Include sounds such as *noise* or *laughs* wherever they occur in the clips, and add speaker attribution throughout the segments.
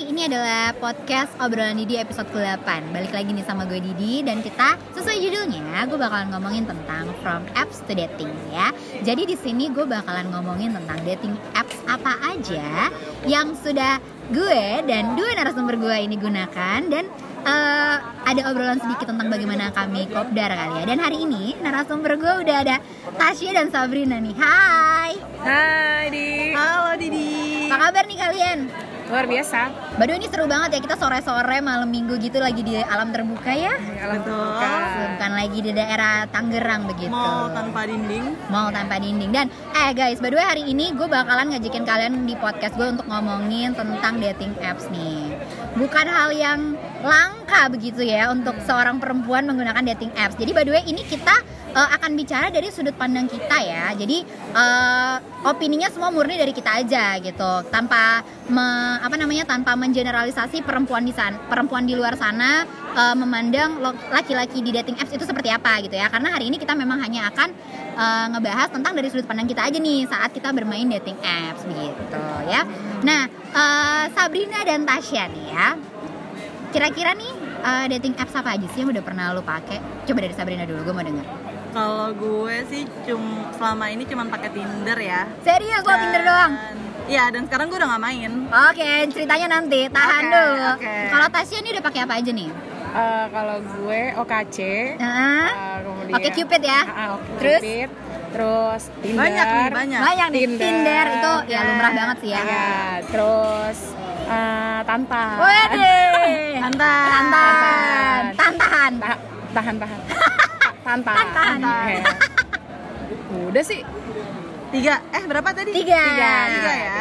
Speaker 1: ini adalah podcast obrolan Didi episode ke-8 Balik lagi nih sama gue Didi Dan kita sesuai judulnya Gue bakalan ngomongin tentang from apps to dating ya Jadi di sini gue bakalan ngomongin tentang dating apps apa aja Yang sudah gue dan dua narasumber gue ini gunakan Dan eh, ada obrolan sedikit tentang bagaimana kami kopdar kali ya Dan hari ini narasumber gue udah ada Tasya dan Sabrina nih Hai
Speaker 2: Hai Di
Speaker 3: Halo Didi.
Speaker 1: Apa kabar nih kalian?
Speaker 2: Luar biasa
Speaker 1: Baduh ini seru banget ya kita sore-sore malam minggu gitu lagi di alam terbuka ya
Speaker 2: Alam
Speaker 3: Betul.
Speaker 2: terbuka
Speaker 1: Bukan lagi di daerah Tangerang begitu
Speaker 3: Mau Iya. tanpa dinding.
Speaker 1: Mall tanpa dinding Dan eh guys by the way hari ini gue bakalan ngajakin kalian di podcast gue untuk ngomongin tentang dating apps nih Bukan hal yang langka begitu ya untuk
Speaker 3: Hmm.
Speaker 1: seorang perempuan menggunakan dating apps Jadi by the way ini kita eh, akan bicara dari sudut pandang kita ya Jadi eh, opininya semua murni dari kita aja gitu tanpa me- apa namanya tanpa mengeneralisasi perempuan di sana perempuan di luar sana eh, memandang lo- laki-laki di dating apps itu seperti apa gitu ya karena hari ini kita memang hanya akan eh, ngebahas tentang dari sudut pandang kita aja nih saat kita bermain dating apps begitu ya nah eh, Sabrina dan Tasya nih ya kira-kira nih eh, dating apps apa aja sih yang udah pernah lo pakai coba dari Sabrina dulu gue mau denger
Speaker 3: Kalau gue sih cum selama ini cuman pakai Tinder ya.
Speaker 1: serius lo Tinder
Speaker 3: Dan-
Speaker 1: doang
Speaker 3: Iya, dan sekarang gue udah nggak main.
Speaker 1: Oke, ceritanya nanti. Tahan
Speaker 3: Oke,
Speaker 1: dulu.
Speaker 3: oke.
Speaker 1: Kalau Tasya ini udah pakai apa aja nih?
Speaker 2: Eh, Kalau gue OKC
Speaker 1: Heeh.
Speaker 2: eh,
Speaker 3: Iya.
Speaker 2: kemudian
Speaker 1: Oke, Cupid ya.
Speaker 2: Ah, ah, Oke,
Speaker 1: Terus?
Speaker 2: Cupid. Terus Tinder
Speaker 3: Banyak nih, banyak.
Speaker 1: Banyak nih Tinder,
Speaker 2: Tinder.
Speaker 1: itu ya
Speaker 3: Iya.
Speaker 1: lumrah banget sih ya.
Speaker 2: Ya, Terus eh, Tantan
Speaker 1: Wede.
Speaker 3: Tantan.
Speaker 1: Tantan. Tantan.
Speaker 2: *laughs* Ta- Tahan tahan Tantan
Speaker 1: Tantan.
Speaker 2: Iya. Udah sih
Speaker 3: Tiga, eh berapa tadi?
Speaker 1: Tiga.
Speaker 3: tiga ya.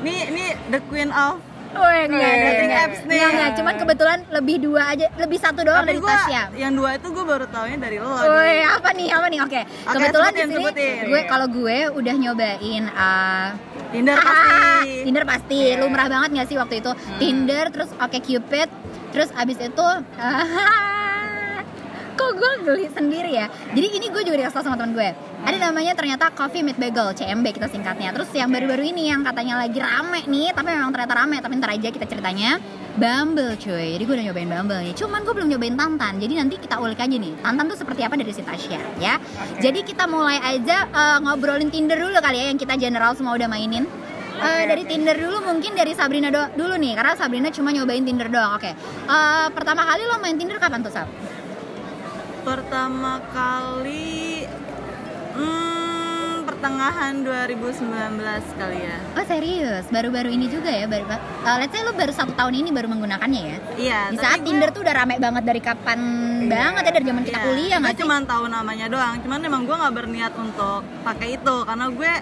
Speaker 3: Ini ini the queen of.
Speaker 1: Weh, enggak,
Speaker 2: Eh,
Speaker 1: enggak, enggak.
Speaker 3: apps nih.
Speaker 1: Enggak, enggak. Cuman kebetulan lebih dua aja, lebih satu doang dari
Speaker 3: Tapi gue
Speaker 1: Tasya.
Speaker 3: yang dua itu gue baru taunya dari lo. Di-
Speaker 1: Woi, apa nih? Apa nih? Oke.
Speaker 3: Oke,
Speaker 1: Kebetulan
Speaker 3: sebutin,
Speaker 1: di sini
Speaker 3: sebutin.
Speaker 1: gue kalau gue udah nyobain eh, *laughs*
Speaker 3: Tinder
Speaker 1: Ah,
Speaker 3: pasti.
Speaker 1: Tinder pasti. Lumrah banget gak sih waktu itu? Tinder terus Oke Cupid, terus abis itu *laughs* ah, kok gue geli sendiri ya. Jadi ini gue juga dikasih tau sama teman gue. Ada namanya ternyata Coffee Meet Bagel, CMB kita singkatnya. Terus yang baru-baru ini yang katanya lagi rame nih, tapi memang ternyata rame, tapi ntar aja kita ceritanya. Bumble cuy, jadi gue udah nyobain Bumble nih Cuman gue belum nyobain Tantan, jadi nanti kita ulik aja nih Tantan tuh seperti apa dari si Tasya ya Jadi kita mulai aja eh, ngobrolin Tinder dulu kali ya Yang kita general semua udah mainin Eh, dari Tinder dulu mungkin dari Sabrina do- dulu nih karena Sabrina cuma nyobain Tinder doang. Oke. Eh, pertama kali lo main Tinder kapan tuh, Sab?
Speaker 3: Pertama kali hmm, pertengahan 2019 kali ya.
Speaker 1: Oh, serius. Baru-baru ini juga ya, baru eh, let's say lo baru satu tahun ini baru menggunakannya ya.
Speaker 3: Iya.
Speaker 1: Di
Speaker 3: tapi
Speaker 1: saat
Speaker 3: gue-
Speaker 1: Tinder tuh udah rame banget dari kapan banget ya dari zaman kita
Speaker 3: Iya,
Speaker 1: kuliah
Speaker 3: gue
Speaker 1: nggak sih?
Speaker 3: cuma tahu namanya doang cuman emang gue nggak berniat untuk pakai itu karena gue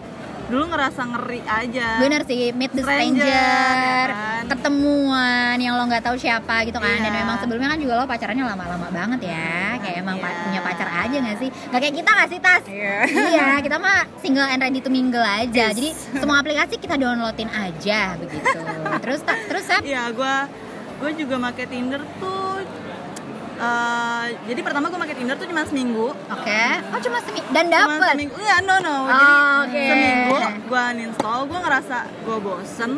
Speaker 3: dulu ngerasa ngeri aja
Speaker 1: Bener sih, meet the stranger,
Speaker 3: Stranger, ya kan?
Speaker 1: ketemuan yang lo nggak tahu siapa gitu kan. Dan
Speaker 3: Iya.
Speaker 1: memang sebelumnya kan juga lo pacarannya lama-lama banget ya. Kayak emang pa-
Speaker 3: Iya.
Speaker 1: punya pacar aja nggak sih? Gak kayak kita nggak sih Tas?
Speaker 2: Iya.
Speaker 1: iya, kita mah single and ready to mingle aja. Jadi semua aplikasi kita downloadin aja begitu. terus tak terus Sab?
Speaker 3: iya gue gue juga pakai Tinder tuh eh, jadi pertama gue pakai Tinder tuh cuma seminggu
Speaker 1: Oke. Oh cuma semi dan
Speaker 3: Cuma
Speaker 1: dapet.
Speaker 3: seminggu enggak no no
Speaker 1: Oh,
Speaker 3: jadi
Speaker 1: oke.
Speaker 3: seminggu gue uninstall gue ngerasa gue bosen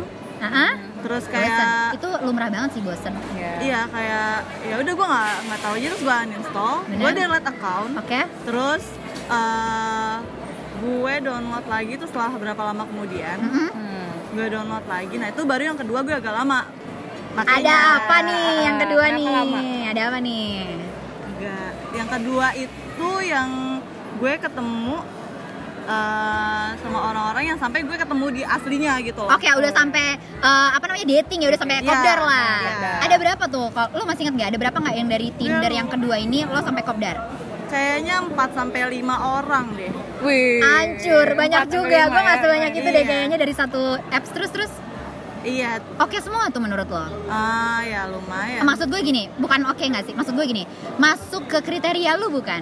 Speaker 1: Heeh.
Speaker 3: terus
Speaker 1: Bosen.
Speaker 3: kayak
Speaker 1: Itu lumrah banget sih bosen.
Speaker 2: Iya.
Speaker 3: iya kayak ya udah gue nggak nggak tahu aja terus gue uninstall gue
Speaker 1: Bener.
Speaker 3: delete account
Speaker 1: Oke.
Speaker 3: Terus eh, gue download lagi tuh setelah berapa lama kemudian
Speaker 1: Mm-mm.
Speaker 2: Hmm.
Speaker 3: gue download lagi. Nah itu baru yang kedua gue agak lama. Iya.
Speaker 1: Ada apa nih yang kedua
Speaker 2: Berapa
Speaker 1: nih?
Speaker 2: lama?
Speaker 1: Ada apa nih?
Speaker 3: Tiga. Yang kedua itu yang gue ketemu eh, sama orang-orang yang sampai gue ketemu di aslinya gitu loh.
Speaker 1: Oke, udah sampai eh, apa namanya dating ya, udah sampai
Speaker 3: Iya,
Speaker 1: kopdar lah.
Speaker 3: iya.
Speaker 1: Ada berapa tuh? Kalau lo masih inget nggak? Ada berapa nggak yang dari Tinder yang kedua ini lo sampai kopdar?
Speaker 3: Kayaknya 4 sampai 5 orang deh.
Speaker 2: Wih.
Speaker 1: Hancur, banyak
Speaker 2: Empat
Speaker 1: juga. Gue nggak
Speaker 2: sampai Iya, lima
Speaker 1: sebanyak
Speaker 2: ya.
Speaker 1: itu deh
Speaker 3: Iya.
Speaker 1: kayaknya dari satu apps terus terus.
Speaker 3: Iya.
Speaker 1: Oke semua tuh menurut lo.
Speaker 3: Ah ya lumayan.
Speaker 1: Maksud gue gini, bukan oke nggak sih? Maksud gue gini, masuk ke kriteria lu bukan?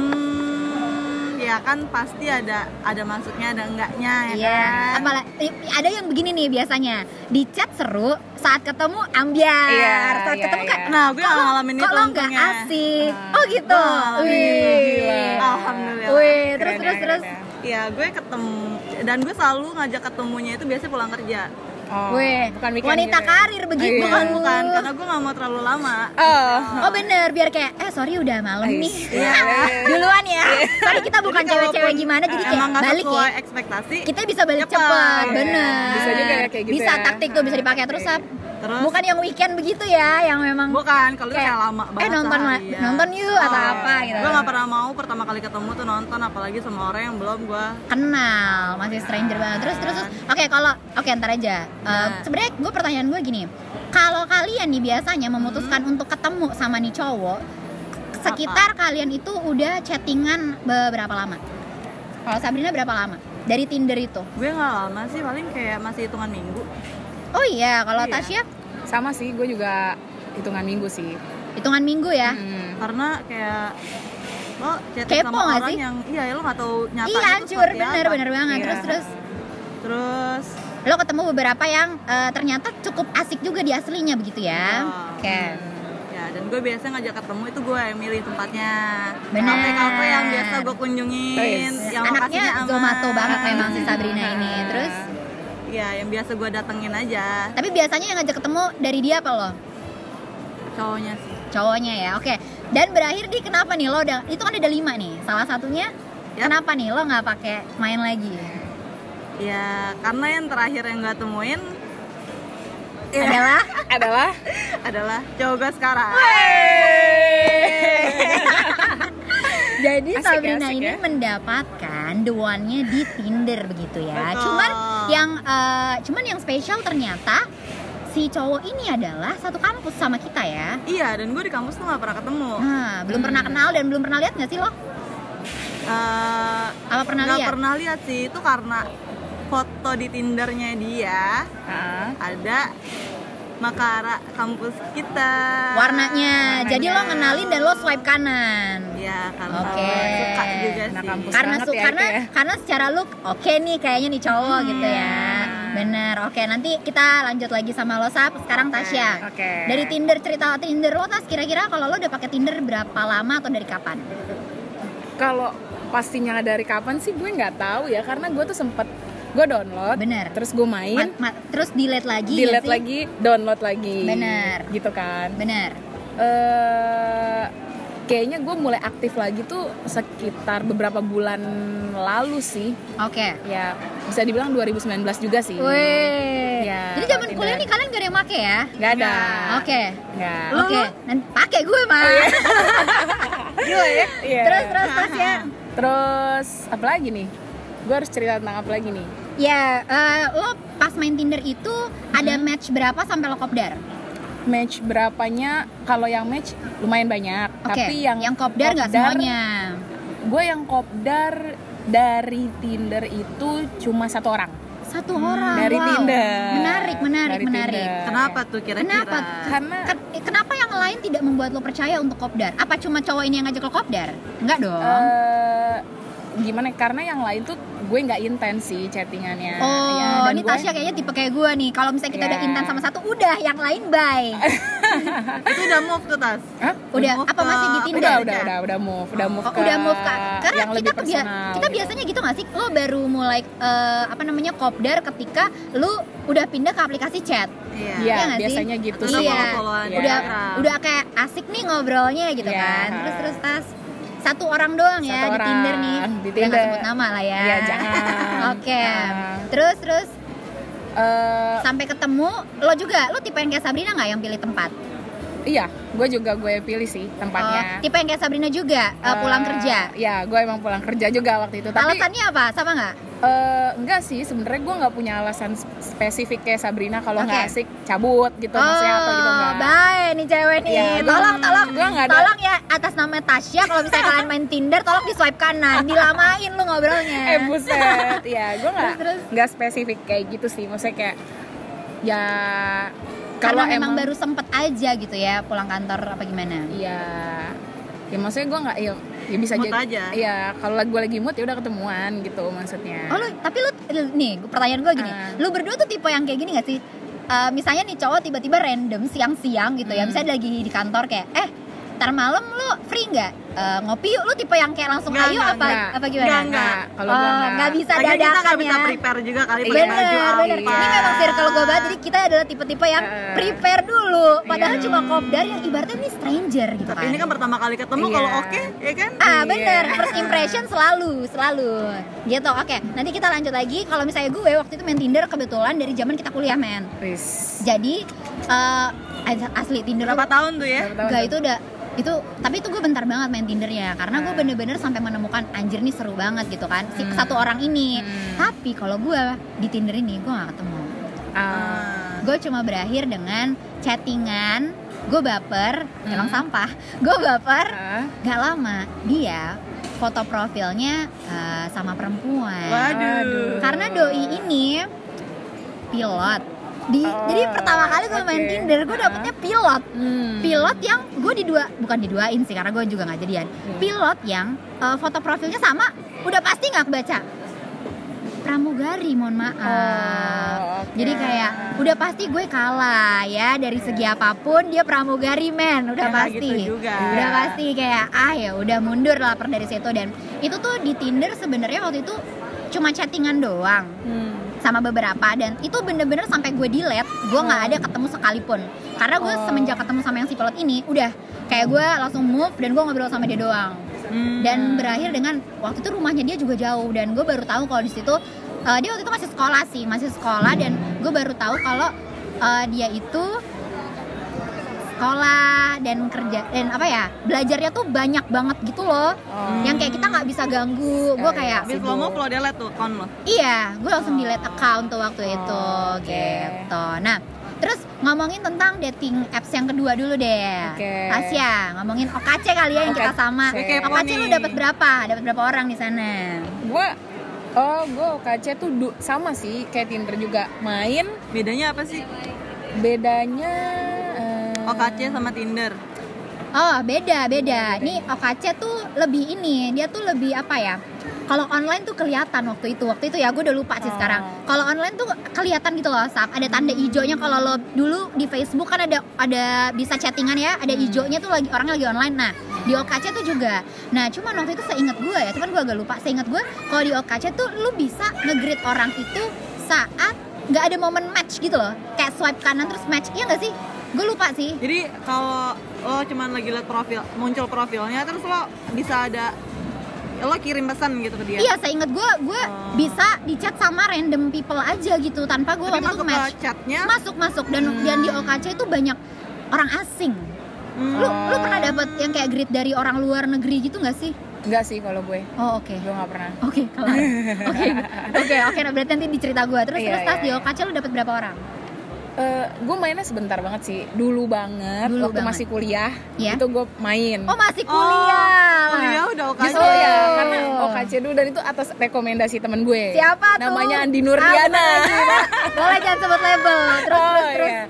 Speaker 3: Hmm, ya kan pasti ada ada masuknya ada enggaknya ya
Speaker 1: Iya.
Speaker 3: kan?
Speaker 1: Apalah, i- ada yang begini nih biasanya. Di chat seru, saat ketemu ambiar.
Speaker 2: Iya,
Speaker 1: saat
Speaker 2: iya,
Speaker 1: ketemu
Speaker 2: iya.
Speaker 1: kan
Speaker 3: Nah, gue
Speaker 1: kok lo-
Speaker 3: ngalamin
Speaker 1: kok
Speaker 3: itu
Speaker 1: lo nggak
Speaker 3: untungnya.
Speaker 1: asik?
Speaker 2: Ah.
Speaker 1: Oh gitu.
Speaker 3: Gue ngalamin itu,
Speaker 1: Wih.
Speaker 3: gila. Alhamdulillah.
Speaker 1: Wih, terus
Speaker 2: Keren ya,
Speaker 1: terus
Speaker 2: keren
Speaker 3: Iya,
Speaker 1: terus.
Speaker 2: ya.
Speaker 3: Ya, gue ketemu dan gue selalu ngajak ketemunya itu biasanya pulang kerja.
Speaker 2: Oh,
Speaker 1: Weh,
Speaker 2: bukan weekend
Speaker 1: wanita
Speaker 2: gitu ya?
Speaker 1: karir begitu
Speaker 2: Iya.
Speaker 1: kan
Speaker 3: bukan bukan karena gue nggak mau terlalu lama
Speaker 2: Oh.
Speaker 1: Oh bener, biar kayak, eh sorry udah malam
Speaker 2: Ais.
Speaker 1: nih *laughs*
Speaker 2: Iya.
Speaker 1: Duluan ya, sorry kita bukan
Speaker 3: Jadi kalaupun,
Speaker 1: cewek-cewek gimana, jadi
Speaker 3: eh,
Speaker 1: kayak
Speaker 3: emang nggak
Speaker 1: balik ya
Speaker 3: sesuai ekspektasi
Speaker 1: Kita bisa balik
Speaker 3: Cepet.
Speaker 1: cepet,
Speaker 2: Iya.
Speaker 1: bener
Speaker 2: Bisa juga ya, kayak gitu
Speaker 1: Bisa,
Speaker 2: ya.
Speaker 1: taktik tuh bisa dipakai terus Sab.
Speaker 3: Terus?
Speaker 1: Bukan yang weekend begitu ya, yang memang
Speaker 3: bukan kalau itu
Speaker 1: kayak,
Speaker 3: kayak lama banget iya.
Speaker 1: eh nonton ma-
Speaker 3: seharian.
Speaker 1: nonton yuk atau
Speaker 2: Oh.
Speaker 1: apa gitu
Speaker 3: gue gak pernah mau pertama kali ketemu tuh nonton apalagi sama orang yang belum gue
Speaker 1: kenal masih stranger banget terus terus, terus. oke kalau oke ntar aja Eh,
Speaker 3: Nah.
Speaker 1: sebenarnya gue pertanyaan gue gini kalau kalian nih biasanya memutuskan untuk ketemu sama nih cowok sekitar kalian itu udah chattingan beberapa lama kalau Sabrina berapa lama dari Tinder itu
Speaker 3: gue nggak lama sih paling kayak masih hitungan minggu
Speaker 1: oh iya kalau
Speaker 3: Iya.
Speaker 1: Tasya
Speaker 2: Sama sih, gue juga hitungan minggu sih.
Speaker 1: hitungan minggu ya
Speaker 2: Hmm.
Speaker 3: karena kayak lo chatting
Speaker 1: Kepo
Speaker 3: sama
Speaker 1: nggak
Speaker 3: orang
Speaker 1: sih?
Speaker 3: yang iya ya lo gak tau nyata
Speaker 1: iya hancur bener bener banget
Speaker 2: Iya.
Speaker 1: terus terus
Speaker 3: terus
Speaker 1: lo ketemu beberapa yang eh, ternyata cukup asik juga di aslinya begitu ya
Speaker 3: Iya.
Speaker 1: oke
Speaker 3: ya dan gue biasanya ngajak ketemu itu gue yang milih tempatnya
Speaker 1: Benar.
Speaker 3: kafe-kafe yang biasa gue kunjungin
Speaker 2: Terus.
Speaker 1: iya.
Speaker 3: yang
Speaker 1: anaknya
Speaker 3: lokasinya aman.
Speaker 1: zomato banget memang si Sabrina ini terus
Speaker 3: iya yang biasa gue datengin aja
Speaker 1: tapi biasanya yang ngajak ketemu dari dia apa lo
Speaker 3: cowoknya sih
Speaker 1: cowoknya ya oke dan berakhir di kenapa nih lo udah itu kan ada lima nih salah satunya
Speaker 3: Yap.
Speaker 1: kenapa nih lo nggak pakai main lagi
Speaker 3: ya karena yang terakhir yang gue temuin
Speaker 1: adalah
Speaker 2: Adalah
Speaker 3: adalah cowok gue sekarang
Speaker 1: jadi
Speaker 2: Asik ya,
Speaker 1: Sabrina
Speaker 2: asik
Speaker 1: ini
Speaker 2: ya.
Speaker 1: mendapatkan the one-nya di Tinder begitu ya
Speaker 3: Betul.
Speaker 1: cuman yang eh, cuman yang spesial ternyata si cowok ini adalah satu kampus sama kita ya
Speaker 3: iya dan gue di kampus tuh gak pernah ketemu
Speaker 1: Nah, belum pernah kenal dan belum pernah lihat nggak sih lo?
Speaker 3: Eh,
Speaker 1: Apa pernah
Speaker 3: nggak
Speaker 1: lihat?
Speaker 3: pernah lihat sih itu karena foto di tindernya dia
Speaker 2: Ah.
Speaker 3: ada makara kampus kita
Speaker 1: Ah, Warnanya. Iya, Jadi lo ngenalin dan lo swipe kanan.
Speaker 3: ya karena
Speaker 1: Oke.
Speaker 3: suka juga
Speaker 2: Anak
Speaker 3: sih
Speaker 2: kampus.
Speaker 1: Karena
Speaker 2: banget
Speaker 1: su-
Speaker 2: ya
Speaker 1: karena
Speaker 2: itu ya.
Speaker 1: karena secara look oke nih kayaknya nih cowok gitu ya. Bener. Oke, nanti kita lanjut lagi sama lo Sap. Sekarang Tasya.
Speaker 2: oke.
Speaker 1: Dari Tinder cerita Tinder lo Tas kira-kira kalau lo udah pakai Tinder berapa lama atau dari kapan?
Speaker 2: Kalau pastinya dari kapan sih gue nggak tahu ya karena gue tuh sempet gue download,
Speaker 1: Bener.
Speaker 2: terus gue main,
Speaker 1: Mat- mat- terus Iya. delete lagi ya
Speaker 2: delete
Speaker 1: sih?
Speaker 2: lagi, download lagi,
Speaker 1: Bener.
Speaker 2: gitu kan.
Speaker 1: Bener.
Speaker 2: eh kayaknya gue mulai aktif lagi tuh sekitar beberapa bulan lalu sih.
Speaker 1: Oke.
Speaker 2: Ya, bisa dibilang 2019 juga sih.
Speaker 1: Wih.
Speaker 2: Ya,
Speaker 1: Jadi zaman
Speaker 2: Tinder.
Speaker 1: kuliah nih kalian gak ada yang make ya?
Speaker 2: Nggak ada.
Speaker 1: Oke.
Speaker 2: Nggak.
Speaker 1: Oke, Oh, iya. nanti pakai gue mah.
Speaker 2: Gila
Speaker 1: *laughs*
Speaker 2: ya. Iya.
Speaker 1: terus terus terus *laughs* ya.
Speaker 2: Terus apa lagi nih? Gue harus cerita tentang apa lagi nih?
Speaker 1: Ya, eh, lo pas main Tinder itu ada
Speaker 2: Hmm.
Speaker 1: match berapa sampai lo kopdar?
Speaker 2: Match berapanya? Kalau yang match lumayan banyak,
Speaker 1: Oke.
Speaker 2: tapi yang
Speaker 1: yang kopdar nggak semuanya.
Speaker 2: Gue yang kopdar dari Tinder itu cuma satu orang.
Speaker 1: Satu orang.
Speaker 2: hmm, dari
Speaker 1: wow.
Speaker 2: Tinder.
Speaker 1: Menarik, menarik,
Speaker 2: Dari
Speaker 1: menarik.
Speaker 2: Tinder.
Speaker 3: kenapa tuh kira-kira
Speaker 1: Kenapa?
Speaker 2: Karena
Speaker 1: Ken- eh, Kenapa yang lain tidak membuat lo percaya untuk kopdar? Apa cuma cowok ini yang ngajak lo kopdar? Enggak dong.
Speaker 2: eh gimana? ya, Karena yang lain tuh gue nggak intens sih chattingannya.
Speaker 1: oh,
Speaker 2: Ya, dan
Speaker 1: ini
Speaker 2: gue-
Speaker 1: Tasya kayaknya tipe kayak gue nih. Kalau misalnya kita
Speaker 2: Ya.
Speaker 1: udah intan sama satu, udah yang lain bye.
Speaker 2: *laughs*
Speaker 3: itu udah move tuh tas
Speaker 2: Hah?
Speaker 1: Udah,
Speaker 3: move
Speaker 1: apa
Speaker 3: ke-
Speaker 1: masih di Tinder?
Speaker 2: Udah, udah, udah, udah move, udah move
Speaker 1: ya, Oh,
Speaker 2: ke
Speaker 1: udah move ke karena
Speaker 2: yang
Speaker 1: kita
Speaker 2: lebih
Speaker 1: kebia-
Speaker 2: personal.
Speaker 1: kita
Speaker 2: gitu.
Speaker 1: biasanya gitu gak sih lo baru mulai eh, apa namanya kopdar ketika lo udah pindah ke aplikasi chat
Speaker 2: Iya,
Speaker 3: iya
Speaker 1: Iya nggak sih?
Speaker 2: biasanya gitu
Speaker 3: Atau
Speaker 2: sih.
Speaker 1: Iya.
Speaker 3: follow-followan
Speaker 2: Iya.
Speaker 1: udah
Speaker 3: Instagram.
Speaker 1: udah kayak asik nih ngobrolnya gitu
Speaker 2: Iya.
Speaker 1: kan terus terus tas satu orang doang ya
Speaker 2: Satu
Speaker 1: di Tinder
Speaker 2: orang.
Speaker 1: nih
Speaker 2: Di
Speaker 1: Udah nggak
Speaker 2: Tinder.
Speaker 1: sebut nama lah ya
Speaker 2: Iya, jangan.
Speaker 1: *laughs* oke
Speaker 2: Nah.
Speaker 1: terus terus
Speaker 2: Eh,
Speaker 1: sampai ketemu lo juga lo tipe yang kayak Sabrina nggak yang pilih tempat
Speaker 2: iya, gue juga gue pilih sih
Speaker 1: Oh,
Speaker 2: tempatnya.
Speaker 1: tipe yang kayak Sabrina juga eh, pulang
Speaker 2: Eh,
Speaker 1: kerja
Speaker 2: Iya, gue emang pulang kerja juga waktu itu. Tapi
Speaker 1: alasannya apa sama nggak
Speaker 2: eh, enggak sih, sebenarnya gue nggak punya alasan sp- spesifik kayak Sabrina kalau nggak
Speaker 1: Oke.
Speaker 2: asik cabut gitu maksudnya atau gitu enggak.
Speaker 1: bye Oh, nih cewek nih.
Speaker 2: Iya, gua-
Speaker 1: tolong, tolong,
Speaker 2: gua nggak ada-
Speaker 1: tolong ya atas nama Tasya. Kalau misalnya kalian main Tinder, tolong di swipe kanan, dilamain lu ngobrolnya.
Speaker 2: *laughs* eh buset ya gue nggak
Speaker 1: Terus, terus.
Speaker 2: nggak spesifik kayak gitu sih maksudnya kayak ya
Speaker 1: Karena memang baru sempet aja gitu ya pulang kantor apa gimana.
Speaker 2: ya ya maksudnya gue nggak ya, ya bisa
Speaker 3: Mood
Speaker 2: jadi
Speaker 3: aja.
Speaker 2: ya kalau gue lagi mood ya udah ketemuan gitu maksudnya
Speaker 1: Oh lu, tapi lu nih pertanyaan gue gini,
Speaker 2: Ah.
Speaker 1: lu berdua tuh tipe yang kayak gini gak sih? Eh, misalnya nih cowok tiba-tiba random siang-siang gitu ya,
Speaker 2: Hmm.
Speaker 1: misalnya lagi di kantor kayak, eh ntar malam lu free nggak? eh, ngopi yuk lu tipe yang kayak langsung
Speaker 3: Nggak,
Speaker 1: ayo
Speaker 3: nggak,
Speaker 1: apa
Speaker 2: nggak.
Speaker 1: apa gimana?
Speaker 3: Nggak, nggak.
Speaker 2: Kalau gua
Speaker 1: Oh,
Speaker 2: nggak.
Speaker 1: nggak bisa
Speaker 3: Lagi kita
Speaker 1: dadakan
Speaker 3: nggak
Speaker 1: ya. Iya,
Speaker 3: bisa prepare juga kali pakai
Speaker 1: Bener,
Speaker 3: baju
Speaker 1: bener.
Speaker 3: apa.
Speaker 1: Ini memang circle gue banget, jadi kita adalah tipe-tipe yang
Speaker 2: Eh.
Speaker 1: prepare dulu. Padahal
Speaker 2: Iya.
Speaker 1: cuma kopdar yang ibaratnya ini stranger gitu
Speaker 3: Tapi
Speaker 1: kan.
Speaker 3: ini kan pertama kali ketemu
Speaker 2: Iya.
Speaker 3: kalau oke, ya kan?
Speaker 1: Ah
Speaker 2: Iya.
Speaker 1: bener, first impression selalu, selalu Gitu, oke Nanti kita lanjut lagi Kalau misalnya gue waktu itu main Tinder kebetulan dari zaman kita kuliah men
Speaker 2: Wis.
Speaker 1: Jadi, eh, asli Tinder
Speaker 3: Berapa tahun tuh ya?
Speaker 2: Berapa tahun
Speaker 1: Gak
Speaker 2: tuh?
Speaker 1: itu udah itu tapi itu gue bentar banget main tindernya ya. karena gue
Speaker 2: Hmm.
Speaker 1: bener-bener sampai menemukan anjir nih seru banget gitu kan si
Speaker 2: Hmm.
Speaker 1: satu orang ini
Speaker 2: Hmm.
Speaker 1: tapi kalau gue di tinder ini gue gak ketemu
Speaker 2: Ah,
Speaker 1: gue cuma berakhir dengan chattingan gue baper
Speaker 2: Hmm.
Speaker 1: emang sampah gue baper
Speaker 2: ah.
Speaker 1: gak lama dia foto profilnya eh, sama perempuan
Speaker 3: Waduh.
Speaker 2: Waduh.
Speaker 1: karena doi ini pilot di
Speaker 2: Oh,
Speaker 1: jadi pertama kali gue main
Speaker 2: oke.
Speaker 1: tinder gue
Speaker 2: Ah.
Speaker 1: dapetnya pilot
Speaker 2: Hmm.
Speaker 1: pilot yang gue di dua bukan diduain sih karena gue juga nggak jadian
Speaker 2: Hmm.
Speaker 1: pilot yang eh, foto profilnya sama udah pasti nggak kebaca pramugari mohon maaf
Speaker 2: Oh, oke.
Speaker 1: jadi kayak udah pasti gue kalah ya dari segi apapun dia pramugari men udah
Speaker 3: Ya, nggak
Speaker 1: pasti
Speaker 3: gitu juga.
Speaker 1: udah pasti kayak ah ya udah mundur lapar dari situ dan itu tuh di Tinder sebenarnya waktu itu cuma chattingan doang
Speaker 2: Hmm.
Speaker 1: sama beberapa dan itu bener-bener sampai gue delete gue nggak ada ketemu sekalipun karena gue
Speaker 2: Oh.
Speaker 1: semenjak ketemu sama yang si pilot ini udah kayak gue langsung move dan gue ngobrol sama dia doang
Speaker 3: Hmm.
Speaker 1: dan berakhir dengan waktu itu rumahnya dia juga jauh dan gue baru tahu kalau di situ eh, dia waktu itu masih sekolah sih masih sekolah dan gue baru tahu kalau eh, dia itu sekolah dan kerja dan apa ya belajarnya tuh banyak banget gitu loh
Speaker 2: Oh.
Speaker 1: yang kayak kita nggak bisa ganggu gue kayak
Speaker 3: Habis lo mau lo delete tuh account lo.
Speaker 1: Iya, gue langsung delete account tuh waktu
Speaker 2: Oh,
Speaker 1: itu
Speaker 2: oke.
Speaker 1: gitu. Nah, terus ngomongin tentang dating apps yang kedua dulu deh.
Speaker 2: Oke.
Speaker 1: Tasya, ngomongin OKC kali ya yang kita
Speaker 2: OKC.
Speaker 1: sama.
Speaker 2: Gue
Speaker 3: kepo
Speaker 1: OKC lu
Speaker 3: nih.
Speaker 1: dapat berapa? Dapat berapa orang di sana?
Speaker 2: Gue Oh, gue OKC tuh du- sama sih kayak Tinder juga main.
Speaker 3: Bedanya apa sih?
Speaker 2: Bedanya eh,
Speaker 3: OKC sama Tinder.
Speaker 1: Oh, beda, beda. Nih OKC tuh lebih ini, dia tuh lebih apa ya? Kalau online tuh kelihatan waktu itu. Waktu itu ya gue udah lupa sih
Speaker 2: Oh.
Speaker 1: sekarang. Kalau online tuh kelihatan gitu loh, Sap. Ada tanda ijonya kalau lo dulu di Facebook kan ada ada bisa chattingan ya, ada ijonya tuh lagi orangnya lagi online. Nah, di OKC tuh juga. Nah, cuman waktu itu seingat gue ya, cuman gue agak lupa. Seingat gue kalau di OKC tuh lu bisa nge-greet orang itu saat nggak ada momen match gitu loh. Kayak swipe kanan terus match. Iya nggak sih? Gue lupa sih.
Speaker 3: Jadi kalau lo cuman lagi liat profil, muncul profilnya terus lo bisa ada lo kirim pesan gitu ke dia.
Speaker 1: Iya, saya inget gue, gue
Speaker 3: Oh.
Speaker 1: bisa dicat sama random people aja gitu tanpa gue
Speaker 3: Tapi
Speaker 1: waktu itu
Speaker 3: masuk ke
Speaker 1: match.
Speaker 3: chatnya.
Speaker 1: Masuk masuk dan
Speaker 3: Hmm.
Speaker 1: dan di OKC itu banyak orang asing.
Speaker 3: hmm,
Speaker 1: Lu lu pernah dapet yang kayak greet dari orang luar negeri gitu nggak sih?
Speaker 2: enggak sih kalau gue.
Speaker 1: Oh oke.
Speaker 2: Gue nggak pernah.
Speaker 1: Oke, kelar. Oke, oke, oke. Nah, berarti nanti dicerita gue. Terus
Speaker 2: Iya,
Speaker 1: terus tas
Speaker 2: iya,
Speaker 1: di
Speaker 2: iya.
Speaker 1: OKC lu dapat berapa orang?
Speaker 2: Eh, gue mainnya sebentar banget sih. Dulu banget
Speaker 1: Dulu
Speaker 2: waktu
Speaker 1: banget.
Speaker 2: masih kuliah,
Speaker 1: Iya.
Speaker 2: itu gue main.
Speaker 1: Oh masih
Speaker 3: Oh,
Speaker 1: kuliah.
Speaker 3: kuliah udah OKC.
Speaker 2: Justru ya,
Speaker 1: Oh.
Speaker 2: karena OKC dulu dan itu atas rekomendasi temen gue.
Speaker 1: Siapa tuh?
Speaker 2: Namanya Andi
Speaker 1: Ah,
Speaker 2: *laughs* Nurdiana.
Speaker 1: bener. Boleh jangan sebut label. Terus
Speaker 2: Oh,
Speaker 1: terus terus.
Speaker 2: iya.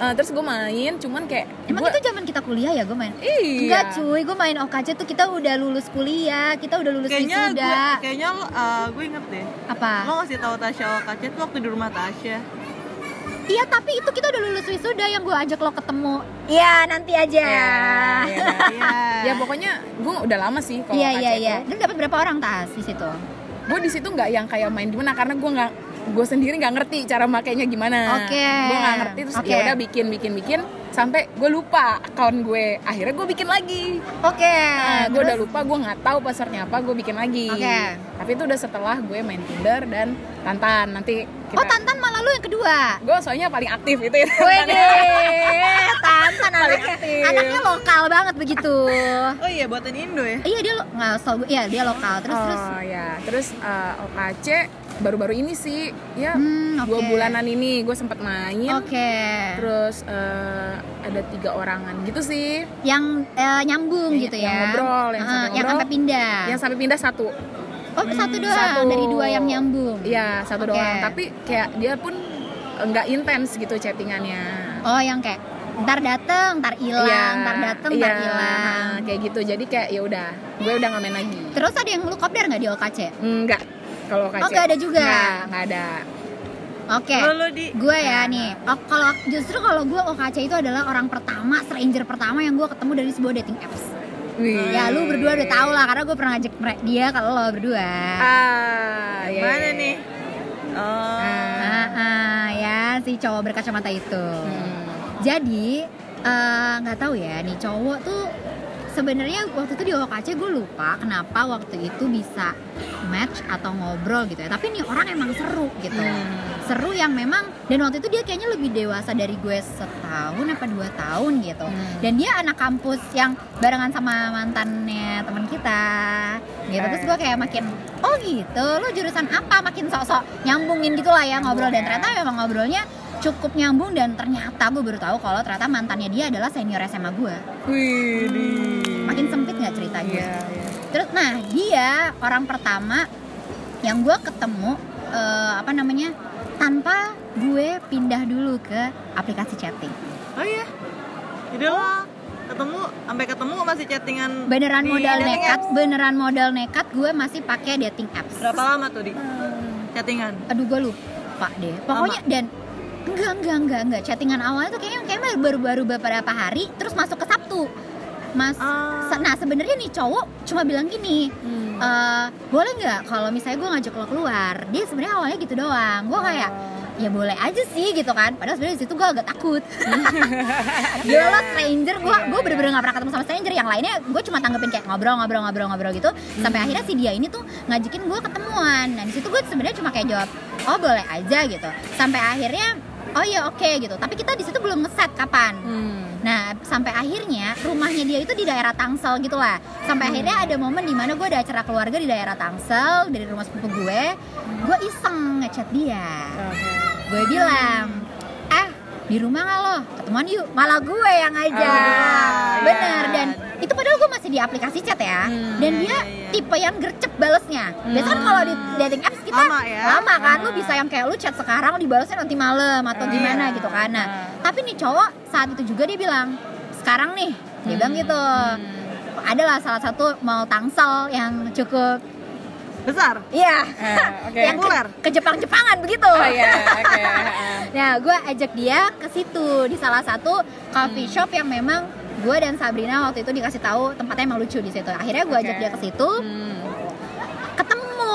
Speaker 2: Eh, terus gue main, cuman kayak
Speaker 1: Emang
Speaker 2: gua-
Speaker 1: itu zaman kita kuliah ya gue main?
Speaker 2: Iya.
Speaker 1: Enggak cuy, gue main OKC tuh kita udah lulus kuliah, kita udah lulus
Speaker 3: Kayaknya gue,
Speaker 1: wisuda.
Speaker 3: kayaknya lo, eh, gue inget deh.
Speaker 1: Apa?
Speaker 2: Oh.
Speaker 3: Lo ngasih tahu Tasya OKC tuh waktu di rumah Tasya.
Speaker 1: Iya tapi itu kita udah lulus wisuda yang gue ajak lo ketemu. Iya nanti aja.
Speaker 2: Ya, ya.
Speaker 3: Iya.
Speaker 2: Ya, pokoknya gue udah lama sih kalau
Speaker 1: Iya
Speaker 2: OKC
Speaker 1: iya iya. Lu
Speaker 2: tuh.
Speaker 1: dapat berapa orang tas di situ?
Speaker 2: gue di situ nggak yang kayak main gimana karena gue nggak gue sendiri nggak ngerti cara makainya gimana
Speaker 1: Oke.
Speaker 2: gue nggak ngerti terus
Speaker 1: Oke.
Speaker 2: ya udah bikin bikin bikin sampai gue lupa account gue akhirnya gue bikin lagi
Speaker 1: Oke. Eh,
Speaker 2: nah, gue
Speaker 1: terus-
Speaker 2: udah lupa gue nggak tahu passwordnya apa gue bikin lagi
Speaker 1: Oke.
Speaker 2: tapi itu udah setelah gue main tinder dan tantan nanti kita
Speaker 1: Oh Tantan malah lu yang kedua.
Speaker 2: gue soalnya paling aktif itu ya
Speaker 1: Wede, Tantan anaknya,
Speaker 2: aktif.
Speaker 1: anaknya lokal banget begitu.
Speaker 3: Oh iya buatan Indo ya.
Speaker 1: Iya dia lo, nggak usah gue- iya dia lokal. Terus
Speaker 2: oh
Speaker 1: terus.
Speaker 2: ya terus eh, OKC baru-baru ini sih ya
Speaker 1: Hmm,
Speaker 2: dua
Speaker 1: oke.
Speaker 2: bulanan ini gue sempat main
Speaker 1: Oke.
Speaker 2: Oh.
Speaker 1: Iya.
Speaker 2: terus eh, ada tiga orangan gitu sih
Speaker 1: yang eh, nyambung
Speaker 2: Yang-
Speaker 1: gitu ya
Speaker 2: Iya, yang ngobrol, yang
Speaker 1: Eh,
Speaker 2: sampai
Speaker 1: yang
Speaker 2: ngobrol.
Speaker 1: sampai pindah
Speaker 2: yang sampai pindah satu
Speaker 1: oh satu doang
Speaker 2: Hmm, satu.
Speaker 1: Nah. dari dua yang nyambung
Speaker 2: iya satu
Speaker 1: Oke.
Speaker 2: doang tapi kayak dia pun nggak intens gitu chattingannya
Speaker 1: oh yang kayak ntar dateng ntar hilang
Speaker 2: Iya,
Speaker 1: ntar dateng
Speaker 2: iya,
Speaker 1: ntar hilang
Speaker 2: nah, kayak gitu jadi kayak ya udah gue udah nggak main lagi
Speaker 1: terus ada yang lu kopdar nggak di OKC
Speaker 2: enggak kalau OKC
Speaker 1: Oh, nggak ada juga.
Speaker 2: nggak nggak ada
Speaker 1: oke
Speaker 3: Lo lo di
Speaker 1: gue ya
Speaker 2: Nah,
Speaker 1: nih oh, kalau justru kalau gue OKC itu adalah orang pertama stranger pertama yang gue ketemu dari sebuah dating apps
Speaker 2: Wih.
Speaker 1: Ya lu berdua udah tau lah karena gue pernah ngajak mere- dia kalau lo berdua.
Speaker 2: Ah, iya. ya,
Speaker 3: Mana
Speaker 2: ya, ya.
Speaker 3: nih? Oh,
Speaker 1: Iya. Ah, ah, ya si cowok berkacamata itu.
Speaker 2: Hmm.
Speaker 1: Jadi eh, nggak tahu ya nih cowok tuh sebenarnya waktu itu di OKC gue lupa kenapa waktu itu bisa match atau ngobrol gitu ya. Tapi nih orang emang seru gitu.
Speaker 3: Hmm.
Speaker 1: Seru yang memang dan waktu itu dia kayaknya lebih dewasa dari gue setahun apa dua tahun gitu.
Speaker 2: Hmm.
Speaker 1: Dan dia anak kampus yang barengan sama mantannya teman kita. Gitu. Terus gue kayak makin oh gitu lo jurusan apa makin sok-sok nyambungin gitu lah ya ngobrol
Speaker 2: Iya.
Speaker 1: dan ternyata memang ngobrolnya cukup nyambung dan ternyata gue baru tahu kalau ternyata mantannya dia adalah senior SMA gue
Speaker 2: Wih, di.
Speaker 1: makin sempit nggak ceritanya
Speaker 2: Iya, iya.
Speaker 1: terus nah dia orang pertama yang gue ketemu eh, apa namanya tanpa gue pindah dulu ke aplikasi chatting
Speaker 3: oh iya. Jadi lo ketemu sampai ketemu masih chattingan
Speaker 1: beneran
Speaker 3: di
Speaker 1: modal
Speaker 3: Iya, dating
Speaker 1: nekat
Speaker 3: apps?
Speaker 1: beneran modal nekat gue masih pakai dating apps
Speaker 3: Berapa lama tuh di
Speaker 1: Hmm.
Speaker 3: chattingan?
Speaker 1: aduh gue lupa deh pokoknya dan enggak enggak enggak enggak chattingan awalnya tuh kayaknya kayaknya baru-baru beberapa hari terus masuk ke Sabtu mas
Speaker 3: Ah.
Speaker 1: se- nah sebenarnya nih cowok cuma bilang gini
Speaker 2: Hmm.
Speaker 1: "Eh, boleh nggak kalau misalnya gue ngajak lo keluar dia sebenarnya awalnya gitu doang gue kayak ya boleh aja sih gitu kan padahal sebenarnya di situ gue agak takut Gila lo stranger gue gue bener-bener gak pernah ketemu sama stranger yang lainnya gue cuma tanggepin kayak ngobrol ngobrol ngobrol ngobrol gitu sampai akhirnya si dia ini tuh ngajakin gue ketemuan dan di situ gue sebenarnya cuma kayak jawab oh boleh aja gitu sampai akhirnya oh ya oke gitu tapi kita di situ belum ngeset kapan
Speaker 2: Hmm.
Speaker 1: Nah, sampai akhirnya rumahnya dia itu di daerah Tangsel gitu lah. Sampai akhirnya ada momen di mana gue ada acara keluarga di daerah Tangsel dari rumah sepupu gue. Gue iseng ngechat
Speaker 2: Oh.
Speaker 1: dia. Gue bilang, eh di rumah nggak lo? Ketemuan yuk. Malah gue yang ngajak.
Speaker 3: Ah.
Speaker 1: Bener dan itu padahal gue masih di aplikasi chat ya.
Speaker 2: Hmm,
Speaker 1: Dan dia
Speaker 3: iya, iya.
Speaker 1: tipe yang gercep balesnya. Biasanya kan kalau di dating apps kita
Speaker 3: Lama ya?
Speaker 1: lama kan lu bisa yang kayak lu chat sekarang dibalasnya nanti malam atau
Speaker 3: Iya.
Speaker 2: Ah.
Speaker 1: gimana gitu kan. Nah,
Speaker 2: Ah.
Speaker 1: tapi nih cowok saat itu juga dia bilang sekarang nih dia bilang
Speaker 3: Hmm.
Speaker 1: gitu adalah salah satu mau tangsel yang cukup
Speaker 3: Besar.
Speaker 1: iya
Speaker 2: Ah, oke.
Speaker 1: yang ke,
Speaker 3: Ular.
Speaker 1: ke Jepang-Jepangan begitu
Speaker 2: Oh
Speaker 1: *laughs*
Speaker 2: iya, oke.
Speaker 1: nah gue ajak dia ke situ di salah satu coffee
Speaker 3: Hmm.
Speaker 1: shop yang memang gue dan Sabrina waktu itu dikasih tahu tempatnya emang lucu di situ akhirnya gue ajak
Speaker 2: Oke.
Speaker 1: dia ke situ
Speaker 2: Hmm.
Speaker 1: ketemu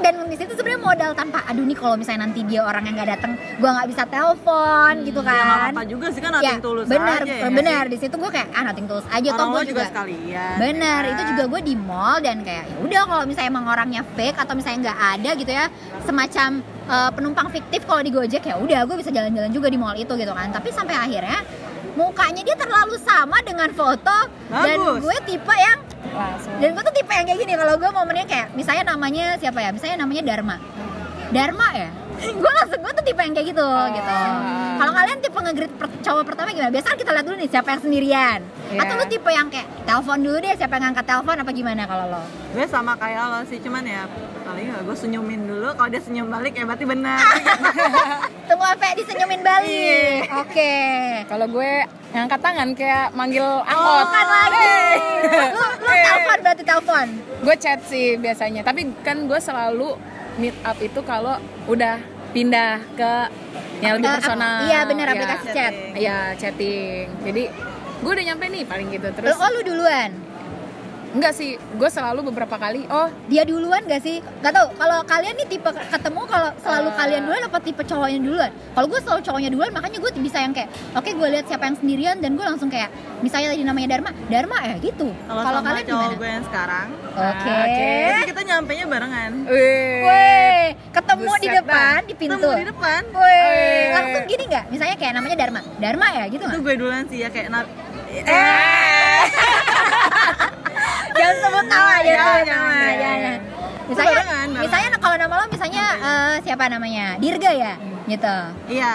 Speaker 1: dan di situ sebenarnya modal tanpa aduh nih kalau misalnya nanti dia orang yang nggak datang gue nggak bisa telepon gitu
Speaker 3: Ya nggak
Speaker 1: kan
Speaker 3: apa-apa juga sih kan nothing tulus
Speaker 1: benar
Speaker 3: aja ya.
Speaker 1: benar di situ gue kayak ah nothing tulus aja toh
Speaker 3: Orang
Speaker 1: gue
Speaker 3: lo juga
Speaker 1: juga,
Speaker 3: sekalian.
Speaker 1: benar
Speaker 3: ya
Speaker 1: itu
Speaker 3: kan?
Speaker 1: juga gue di mall dan kayak ya udah kalau misalnya emang orangnya fake atau misalnya nggak ada gitu ya semacam eh, penumpang fiktif kalau di Gojek ya udah gue bisa jalan-jalan juga di mall itu gitu kan tapi sampai akhirnya mukanya dia terlalu sama dengan foto dan
Speaker 3: Bagus.
Speaker 1: gue tipe yang
Speaker 2: Hmm. Langsung.
Speaker 1: dan gue tuh tipe yang kayak gini kalau gue momennya kayak misalnya namanya siapa ya misalnya namanya Dharma Dharma ya *laughs* gue langsung gue tuh tipe yang kayak gitu gitu
Speaker 2: Ah.
Speaker 1: kalau kalian tipe ngegrid per, cowok pertama gimana biasanya kan kita lihat dulu nih siapa yang sendirian
Speaker 2: Iya.
Speaker 1: atau lu tipe yang kayak telepon dulu deh siapa yang ngangkat telepon apa gimana kalau lo
Speaker 3: Gue sama kayak lo sih, cuman ya paling nggak gue senyumin dulu. Kalau dia senyum balik ya berarti benar.
Speaker 1: Ah, tunggu apa ya, disenyumin balik
Speaker 2: Iya.
Speaker 1: oke
Speaker 2: Kalau gue ngangkat tangan kayak manggil angkot.
Speaker 1: bukan Oh, lagi
Speaker 2: Hey.
Speaker 1: lu lu
Speaker 2: Hey.
Speaker 1: telepon berarti telepon
Speaker 2: *laughs* Gue chat sih biasanya, tapi kan gue selalu meet up itu kalau udah pindah ke yang lebih
Speaker 1: Eh, ap-
Speaker 2: personal.
Speaker 1: iya bener
Speaker 2: Ya.
Speaker 1: aplikasi chat
Speaker 3: Chatting.
Speaker 2: Iya, chatting. Jadi gue udah nyampe nih paling gitu
Speaker 1: lu
Speaker 2: terus.
Speaker 1: oh lu duluan
Speaker 2: Enggak sih, gue selalu beberapa kali, oh
Speaker 1: dia duluan gak sih? Gak tau, kalau kalian nih tipe ketemu kalau selalu
Speaker 2: Ah.
Speaker 1: kalian duluan apa tipe cowoknya duluan? Kalau gue selalu cowoknya duluan, makanya gue bisa yang kayak Oke gue lihat siapa yang sendirian dan gue langsung kayak Misalnya tadi namanya Dharma, Dharma ya gitu
Speaker 3: Kalau
Speaker 1: Kalau
Speaker 3: sama
Speaker 1: kalian
Speaker 3: cowok
Speaker 1: gimana? Eh?
Speaker 3: gue Ah, yang sekarang,
Speaker 1: Oke
Speaker 2: Oke.
Speaker 3: jadi kita nyampainya barengan.
Speaker 2: weh.
Speaker 1: Weh, ketemu di
Speaker 2: Buset
Speaker 1: depan, di pintu
Speaker 3: Temu di depan. Oh, iya,
Speaker 1: Weh,
Speaker 2: Eh.
Speaker 1: langsung gini gak? Misalnya kayak namanya Dharma Dharma ya gitu
Speaker 3: Itu
Speaker 1: gak?
Speaker 3: gue duluan sih ya kayak nap.
Speaker 2: Eh.
Speaker 1: Jangan sebut nama,
Speaker 3: Jangan,
Speaker 1: jangan sebut
Speaker 3: jangan,
Speaker 1: nama
Speaker 3: jangan.
Speaker 1: jangan. iya, Misalnya,
Speaker 3: barengan, barengan.
Speaker 1: misalnya kalau nama lo misalnya eh, siapa namanya? Dirga ya?
Speaker 3: Hmm.
Speaker 1: Gitu
Speaker 3: Iya.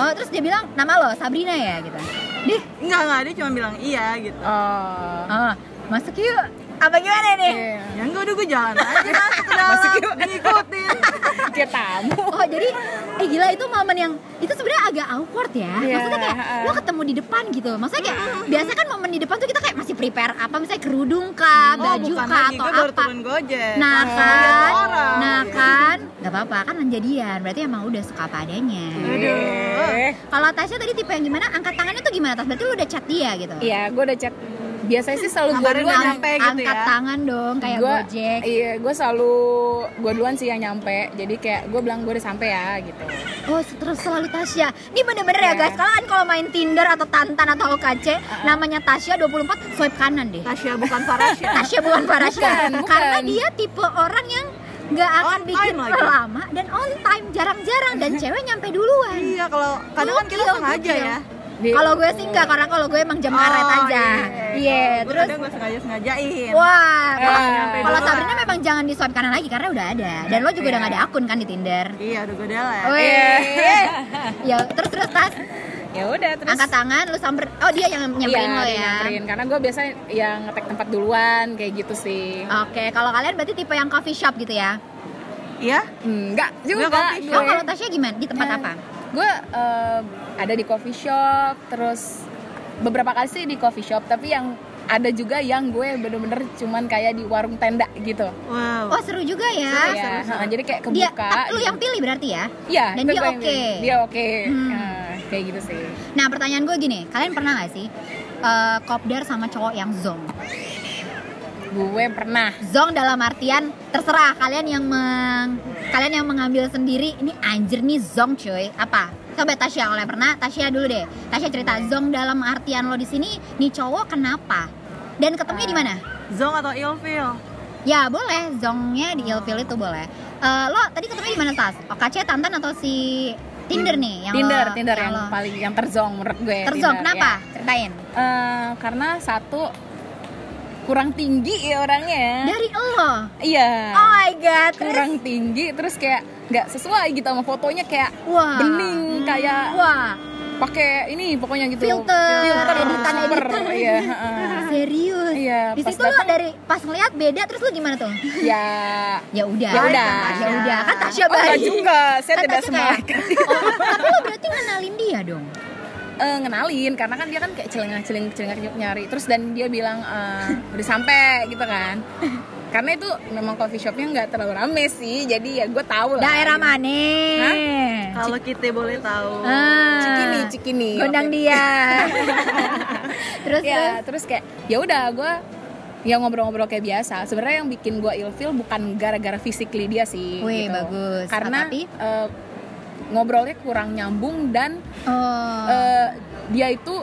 Speaker 1: Oh terus dia bilang nama lo Sabrina ya gitu. Dih,
Speaker 3: Enggak enggak dia cuma bilang iya gitu.
Speaker 2: Oh.
Speaker 1: oh, masuk yuk. Apa gimana nih?
Speaker 2: Iya.
Speaker 3: Ya enggak udah gue jalan aja masuk ke
Speaker 1: *laughs*
Speaker 3: dalam.
Speaker 2: Masuk yuk.
Speaker 3: Ngikutin.
Speaker 2: Kayak tamu.
Speaker 1: Oh jadi, eh gila itu momen yang itu sebenarnya agak awkward ya.
Speaker 2: Iya,
Speaker 1: Maksudnya kayak
Speaker 2: heeh.
Speaker 1: lo ketemu di depan gitu. Maksudnya kayak
Speaker 3: Mm-hmm.
Speaker 1: biasa kan momen di depan tuh kita kayak masih prepare apa misalnya kerudung kah,
Speaker 3: Oh,
Speaker 1: baju
Speaker 3: bukan
Speaker 1: kah
Speaker 3: lagi
Speaker 1: atau
Speaker 3: gue baru
Speaker 1: apa.
Speaker 3: turun Gojek.
Speaker 1: Nah
Speaker 3: Langsung
Speaker 1: kan,
Speaker 3: lihat orang.
Speaker 1: nah kan, nggak apa-apa kan jadian. Berarti emang udah suka apa adanya.
Speaker 3: Aduh.
Speaker 2: Eh.
Speaker 1: Kalau Tasya tadi tipe yang gimana? Angkat tangannya tuh gimana? Tas berarti lu udah chat dia gitu.
Speaker 2: Iya, gue udah chat biasanya sih selalu gue
Speaker 3: Iya. Kabarin
Speaker 2: duluan
Speaker 3: anak.
Speaker 2: yang-
Speaker 3: nyampe gitu
Speaker 1: angkat
Speaker 3: ya.
Speaker 1: tangan dong kayak
Speaker 2: gua,
Speaker 1: gojek
Speaker 2: iya gue selalu gue duluan sih yang nyampe jadi kayak gue bilang gue udah sampai ya gitu
Speaker 1: oh terus selalu Tasya ini bener-bener ya
Speaker 2: Iya.
Speaker 1: guys kalian kalau main Tinder atau Tantan atau OKC namanya Tasya 24 swipe kanan deh
Speaker 3: Tasya bukan Farasya.
Speaker 1: Tasya bukan Parasya
Speaker 2: Bukan, bukan.
Speaker 1: karena dia tipe orang yang nggak akan
Speaker 3: On time
Speaker 1: bikin
Speaker 3: lagi.
Speaker 1: lama dan on time jarang-jarang dan cewek nyampe duluan
Speaker 3: iya kalau kadang kan kita
Speaker 1: Gokil,
Speaker 3: sengaja
Speaker 1: gokil.
Speaker 3: ya.
Speaker 2: Di-
Speaker 1: kalau gue sih nggak karena kalau gue emang jam karet aja iya
Speaker 3: Oh,
Speaker 1: terus
Speaker 3: Gua kadang gue sengaja sengajain.
Speaker 1: wah kalau-
Speaker 2: Eh,
Speaker 3: nyampe
Speaker 1: kalau
Speaker 3: duluan.
Speaker 1: Sabrina memang jangan di swipe kanan lagi karena udah ada dan lo juga udah gak ada akun kan di Tinder
Speaker 3: Iya, udah gue delete.
Speaker 1: Weh. ya terus terus tas
Speaker 2: ya udah terus
Speaker 1: angkat tangan lu samper oh dia yang nyamperin
Speaker 2: Iya,
Speaker 1: lo
Speaker 2: dia
Speaker 1: ya
Speaker 2: nyamperin. karena gue biasa yang ngetek tempat duluan kayak gitu sih
Speaker 1: oke kalau kalian berarti tipe yang coffee shop gitu ya
Speaker 3: Iya.
Speaker 2: enggak
Speaker 3: Gua
Speaker 2: juga
Speaker 3: coffee
Speaker 1: oh kalau
Speaker 2: gue
Speaker 1: Tasya gimana di tempat
Speaker 2: Nah,
Speaker 1: apa
Speaker 2: gue eh, ada di coffee shop terus beberapa kali sih di coffee shop tapi yang ada juga yang gue bener-bener cuman kayak di warung tenda gitu
Speaker 3: Wow.
Speaker 1: oh seru juga ya
Speaker 2: Iya,
Speaker 3: seru, seru.
Speaker 2: heeh, jadi kayak
Speaker 1: dia
Speaker 2: kebuka gitu.
Speaker 1: ah, lu yang pilih berarti ya
Speaker 2: Iya,
Speaker 1: dan
Speaker 2: itu
Speaker 1: dia
Speaker 2: gue yang
Speaker 1: oke.
Speaker 2: pilih. Dia oke.
Speaker 1: Hmm.
Speaker 2: Nah, kayak gitu sih.
Speaker 1: Nah pertanyaan gue gini, kalian pernah gak sih eh, kopdar sama cowok yang zong?
Speaker 2: Gue pernah.
Speaker 1: Zong dalam artian terserah kalian yang meng, kalian yang mengambil sendiri ini anjir nih zong cuy apa? Coba Tasya kalau yang pernah, Tasya dulu deh. Tasya cerita zong dalam artian lo di sini nih cowok kenapa? Dan ketemunya
Speaker 2: Ah.
Speaker 1: di mana?
Speaker 3: Zong atau ilfil?
Speaker 1: Ya boleh, zongnya di ilfil itu boleh. Eh, lo tadi ketemunya di mana Tas? OKC, Tantan atau si Tinder nih? Yang
Speaker 2: Hmm. Tinder,
Speaker 1: lo-
Speaker 2: Tinder yang,
Speaker 1: lo-
Speaker 2: paling yang terzong menurut gue.
Speaker 1: Terzong,
Speaker 2: Tinder,
Speaker 1: kenapa?
Speaker 2: ya.
Speaker 1: Ceritain.
Speaker 2: Eh, karena satu kurang tinggi ya orangnya.
Speaker 1: Dari lo.
Speaker 2: Iya.
Speaker 1: Oh my god. terus-
Speaker 2: kurang tinggi terus kayak nggak sesuai gitu sama fotonya kayak
Speaker 1: Wah. Hmm.
Speaker 2: bening kayak
Speaker 1: Wah.
Speaker 2: pakai ini pokoknya gitu
Speaker 1: Filter,
Speaker 2: filter
Speaker 1: editan,
Speaker 2: super.
Speaker 1: editan. *laughs*
Speaker 2: iya heeh.
Speaker 1: Serius.
Speaker 2: Iya,
Speaker 1: Di
Speaker 2: pas
Speaker 1: situ lo
Speaker 2: datang-
Speaker 1: dari pas ngeliat beda terus lo gimana tuh?
Speaker 2: ya
Speaker 1: Ya udah.
Speaker 2: Ya udah.
Speaker 1: Ya udah. Kan Tasya
Speaker 2: oh enggak
Speaker 1: baik.
Speaker 2: juga saya
Speaker 1: Kan
Speaker 2: tidak
Speaker 1: Tasya kayak-
Speaker 2: semalaikat
Speaker 1: *laughs* Oh, tapi lo berarti ngenalin dia dong.
Speaker 2: eh ngenalin karena kan dia kan kayak celengah celengah celengah nyari terus dan dia bilang eh, udah sampai gitu kan karena itu memang coffee shopnya nggak terlalu rame sih jadi ya gue tahu lah
Speaker 1: Daerah
Speaker 2: gitu.
Speaker 1: mana?
Speaker 2: Hah?
Speaker 3: Kalau kita boleh tahu.
Speaker 1: Ah.
Speaker 2: cikini cikini
Speaker 1: Gondang
Speaker 2: Oke.
Speaker 1: dia.
Speaker 2: *laughs*
Speaker 1: terus
Speaker 2: ya
Speaker 1: terus.
Speaker 2: terus kayak ya udah gue ya ngobrol-ngobrol kayak biasa sebenarnya yang bikin gue ilfil bukan gara-gara physically dia sih
Speaker 1: Wih,
Speaker 2: gitu.
Speaker 1: bagus. Ah,
Speaker 2: karena
Speaker 1: Tapi-
Speaker 2: eh, ngobrolnya kurang nyambung dan
Speaker 1: Oh.
Speaker 2: eh, dia itu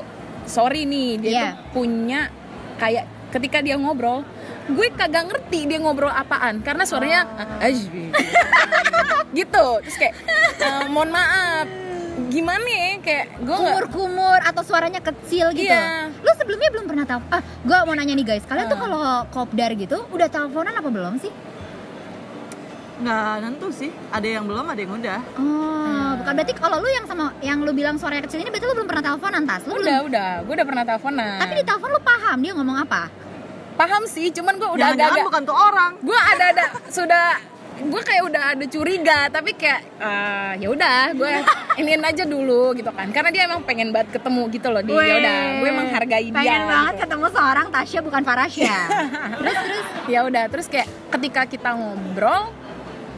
Speaker 2: sorry nih dia
Speaker 1: Iya.
Speaker 2: tuh punya kayak ketika dia ngobrol gue kagak ngerti dia ngobrol apaan karena suaranya "Ah, ah, *laughs* gitu terus kayak "Eh, mohon maaf gimana ya kayak gue nggak
Speaker 1: kumur-kumur atau suaranya kecil gitu.
Speaker 2: Iya.
Speaker 1: Lu sebelumnya belum pernah tahu. Ah, gua mau nanya nih guys, kalian tuh
Speaker 2: Hmm.
Speaker 1: kalau kopdar gitu udah teleponan apa belum sih?
Speaker 3: Nggak nentu sih. Ada yang belum, ada yang udah.
Speaker 1: Oh, bukan berarti kalau lu yang sama yang lu bilang suaranya kecil ini berarti lu belum pernah teleponan tas. Lu
Speaker 2: udah
Speaker 1: belum.
Speaker 2: udah gue udah pernah teleponan
Speaker 1: Tapi di telepon lu paham dia ngomong apa?
Speaker 2: paham sih cuman gue udah
Speaker 3: Jangan-jangan
Speaker 2: agak-agak
Speaker 3: bukan tuh orang.
Speaker 1: Iya,
Speaker 2: gue ada ada sudah gue kayak udah ada curiga tapi kayak eh, ya udah gue ingin aja dulu gitu kan karena dia emang pengen banget ketemu gitu loh dia ya udah gue emang hargai dia
Speaker 1: Pengen banget
Speaker 2: gitu.
Speaker 1: ketemu seorang Tasya bukan ya?
Speaker 2: *laughs*
Speaker 1: Farasya. terus terus
Speaker 2: ya udah terus kayak ketika kita ngobrol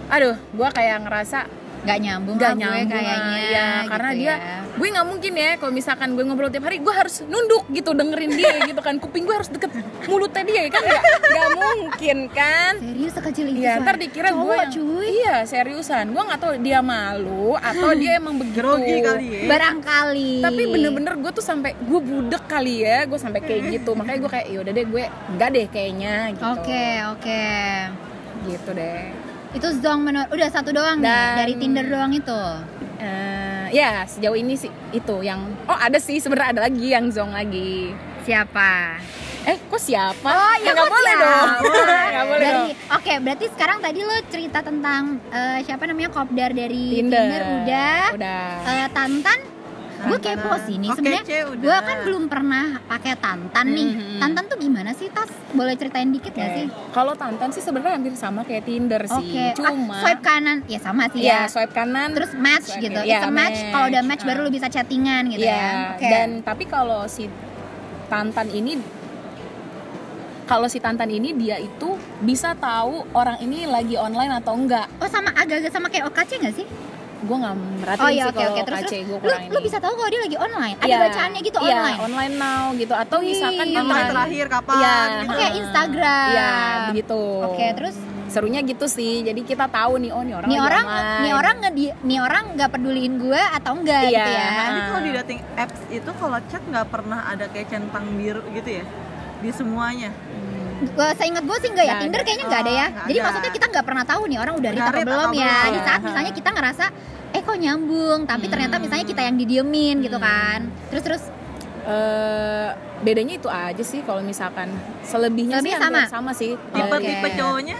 Speaker 2: aduh gue kayak ngerasa
Speaker 1: nggak nyambung
Speaker 2: nggak
Speaker 1: lah gue
Speaker 2: nyambung
Speaker 1: kayaknya.
Speaker 2: lah. ya karena
Speaker 1: gitu
Speaker 2: dia
Speaker 1: ya.
Speaker 2: gue nggak mungkin ya kalau misalkan gue ngobrol tiap hari gue harus nunduk gitu dengerin dia gitu kan kuping gue harus deket mulutnya dia ya kan nggak nggak mungkin kan
Speaker 1: serius sekecil itu.
Speaker 2: Iya,
Speaker 1: suara.
Speaker 2: ntar dikira
Speaker 1: Cowok,
Speaker 2: gue yang
Speaker 1: cuy.
Speaker 2: iya seriusan. Gue nggak tahu dia malu atau dia emang begitu.
Speaker 3: Grogi kali ya.
Speaker 1: Barangkali.
Speaker 2: Tapi bener-bener gue tuh sampai gue budek kali ya, gue sampai kayak gitu. Makanya gue kayak yaudah deh gue nggak deh kayaknya gitu.
Speaker 1: Oke, oke.
Speaker 2: Gitu deh.
Speaker 1: Itu zong menurut udah satu doang
Speaker 2: Dan-
Speaker 1: nih dari Tinder doang itu.
Speaker 2: Eh, ya sejauh ini sih itu yang oh ada sih sebenarnya ada lagi yang zong lagi.
Speaker 1: Siapa?
Speaker 2: Eh kok siapa?
Speaker 1: Oh, ya
Speaker 2: nggak
Speaker 1: kok
Speaker 2: boleh
Speaker 1: siapa?
Speaker 2: dong. Nggak boleh
Speaker 1: dari,
Speaker 2: dong.
Speaker 1: Oke, berarti sekarang tadi lo cerita tentang eh, siapa namanya kopdar dari Tinder,
Speaker 2: Tinder.
Speaker 1: udah.
Speaker 2: Udah.
Speaker 1: Eh, tantan gue
Speaker 3: Tantan.
Speaker 1: kepo sih ini
Speaker 3: Oke, Ce,
Speaker 1: sebenarnya
Speaker 3: udah.
Speaker 1: gue kan belum pernah pakai tantan nih
Speaker 2: Mhm.
Speaker 1: tantan tuh gimana sih tas boleh ceritain dikit
Speaker 2: Oke.
Speaker 1: gak sih
Speaker 2: Kalau Tantan sih sebenarnya hampir sama kayak Tinder sih,
Speaker 1: oke Ah,
Speaker 2: cuma
Speaker 1: swipe kanan ya sama sih
Speaker 2: ya
Speaker 1: ya
Speaker 2: swipe kanan
Speaker 1: terus match
Speaker 2: swipe
Speaker 1: gitu
Speaker 2: kiri.
Speaker 1: it's a
Speaker 2: Ya,
Speaker 1: match kalau udah match
Speaker 2: match. Ah.
Speaker 1: baru lo bisa chattingan gitu
Speaker 2: Iya,
Speaker 1: ya oke
Speaker 2: dan tapi kalau si Tantan ini kalau si Tantan ini dia itu bisa tahu orang ini lagi online atau enggak.
Speaker 1: oh sama agak-agak sama kayak OKC gak sih
Speaker 2: gue nggak merhatiin
Speaker 1: Oh iya
Speaker 2: sih
Speaker 1: oke
Speaker 2: kalau
Speaker 1: oke terus
Speaker 2: KC
Speaker 1: terus
Speaker 2: gue
Speaker 1: lu,
Speaker 2: kurang
Speaker 1: lu
Speaker 2: ini.
Speaker 1: bisa tahu kalau dia lagi online. Ada
Speaker 2: Iya.
Speaker 1: bacaannya gitu
Speaker 2: Iya,
Speaker 1: online.
Speaker 2: online now gitu atau
Speaker 1: Wih,
Speaker 2: misalkan
Speaker 1: Iya.
Speaker 3: Sampai
Speaker 1: online.
Speaker 3: terakhir kapan?
Speaker 2: Iya.
Speaker 3: gitu.
Speaker 1: Oke, Instagram.
Speaker 2: Iya, begitu.
Speaker 1: Oke, terus
Speaker 2: serunya gitu sih. Jadi kita tahu nih oh nih orang
Speaker 1: nih
Speaker 2: lagi
Speaker 1: orang
Speaker 2: online.
Speaker 1: nih orang nggak di- nih orang nggak peduliin gue atau enggak
Speaker 2: Iya.
Speaker 1: gitu ya.
Speaker 3: Tapi kalau di dating apps itu kalau chat nggak pernah ada kayak centang biru gitu ya di semuanya.
Speaker 1: Gue seingat gue sih enggak ya,
Speaker 2: Nggak
Speaker 1: Tinder
Speaker 3: ada.
Speaker 1: kayaknya enggak ada ya.
Speaker 3: Oh, nggak
Speaker 1: Jadi
Speaker 3: ada.
Speaker 1: maksudnya kita nggak pernah tahu nih orang udah
Speaker 3: Udah
Speaker 1: read apa
Speaker 3: read
Speaker 1: belum ya.
Speaker 3: apa belum.
Speaker 1: Di saat
Speaker 2: Iya.
Speaker 1: misalnya kita ngerasa eh kok nyambung,
Speaker 2: Hmm.
Speaker 1: tapi ternyata misalnya kita yang didiemin gitu kan. Terus terus
Speaker 2: Eh, bedanya itu aja sih kalau misalkan selebihnya
Speaker 1: Selebih
Speaker 2: sih hampir
Speaker 1: sama?
Speaker 2: sama sih.
Speaker 3: Tipe
Speaker 2: Dari-
Speaker 3: tipe
Speaker 1: Oke.
Speaker 3: cowoknya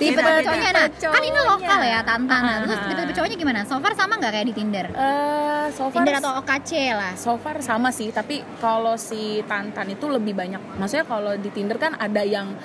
Speaker 2: tipe
Speaker 3: Beda, beda.
Speaker 1: cowoknya nah, kan ini lokal ya tantangan. Terus
Speaker 2: Ah.
Speaker 1: tipe cowoknya gimana? So far sama nggak kayak di Tinder?
Speaker 2: Eh, so far
Speaker 1: Tinder atau OKC lah.
Speaker 2: So far sama sih, tapi kalau si Tantan itu lebih banyak. Maksudnya kalau di Tinder kan ada yang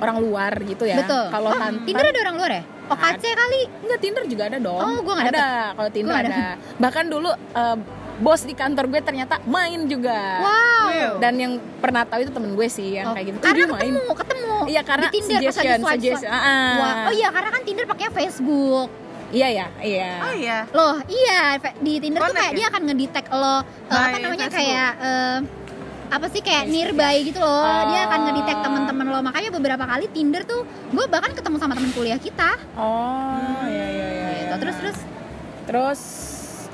Speaker 2: orang luar gitu ya.
Speaker 1: Betul.
Speaker 2: Kalau Nah.
Speaker 1: Oh,
Speaker 2: Tantan
Speaker 1: Tinder ada orang luar ya? OKC kali.
Speaker 2: Enggak, Tinder juga ada dong.
Speaker 1: Oh, gua nggak
Speaker 2: ada. Kalau Tinder
Speaker 1: Gua
Speaker 2: ada.
Speaker 1: nggak
Speaker 2: Bahkan dulu eh, bos di kantor gue ternyata main juga.
Speaker 1: Wow.
Speaker 2: Dan yang pernah tahu itu temen gue sih
Speaker 1: Oh,
Speaker 2: yang kayak gitu. "Ih,
Speaker 1: Karena
Speaker 2: dia main.
Speaker 1: ketemu, ketemu.
Speaker 2: Iya, karena
Speaker 1: di Tinder pas lagi
Speaker 2: suggestion,
Speaker 1: swipe,
Speaker 2: suggestion.
Speaker 1: swipe.
Speaker 2: Ah.
Speaker 1: Wah, oh iya karena kan Tinder pakai Facebook.
Speaker 2: Iya ya, iya.
Speaker 3: Oh iya.
Speaker 1: Loh, iya fe- di Tinder tuh
Speaker 3: Connect
Speaker 1: kayak
Speaker 3: ya?
Speaker 1: dia akan ngedetect lo eh, apa
Speaker 3: By
Speaker 1: namanya
Speaker 3: Facebook.
Speaker 1: kayak eh, apa sih kayak nearby gitu loh. Dia akan ngedetect
Speaker 2: ya. Oh.
Speaker 1: teman-teman lo. Makanya beberapa kali Tinder tuh gue bahkan ketemu sama teman kuliah kita.
Speaker 2: Oh, iya iya iya.
Speaker 1: Gitu.
Speaker 2: iya.
Speaker 1: Terus terus
Speaker 2: Terus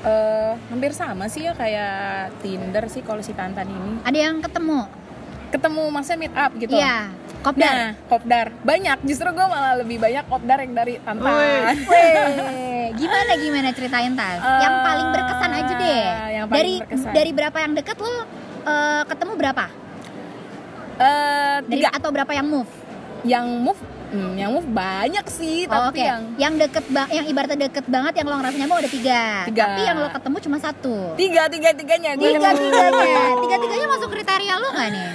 Speaker 2: eh, hampir sama sih ya kayak Tinder sih kalau si Tantan ini.
Speaker 1: ada yang ketemu.
Speaker 2: Ketemu maksudnya meet up gitu.
Speaker 1: Iya, kopdar.
Speaker 2: Nah, kopdar banyak. Justru gue malah lebih banyak kopdar yang dari Tantan.
Speaker 1: Weh, gimana gimana ceritain tas?
Speaker 2: Eh,
Speaker 1: yang paling berkesan aja deh.
Speaker 2: Ah, yang paling
Speaker 1: dari
Speaker 2: berkesan.
Speaker 1: dari berapa yang deket lo eh, ketemu berapa?
Speaker 2: *laughs* Eh,
Speaker 1: Dari,
Speaker 2: tiga.
Speaker 1: atau berapa yang move?
Speaker 2: Yang move, hmm, yang move banyak sih,
Speaker 1: Oh,
Speaker 2: tapi
Speaker 1: Oke,
Speaker 2: yang
Speaker 1: yang deket ba- yang ibaratnya deket banget yang lo ngerasa nyambung ada tiga.
Speaker 2: Tiga.
Speaker 1: Tapi yang lo ketemu cuma satu.
Speaker 2: tiga tiga tiganya gue
Speaker 1: Tiga
Speaker 2: yang-
Speaker 1: tiganya, tiga tiganya masuk kriteria lo nggak nih?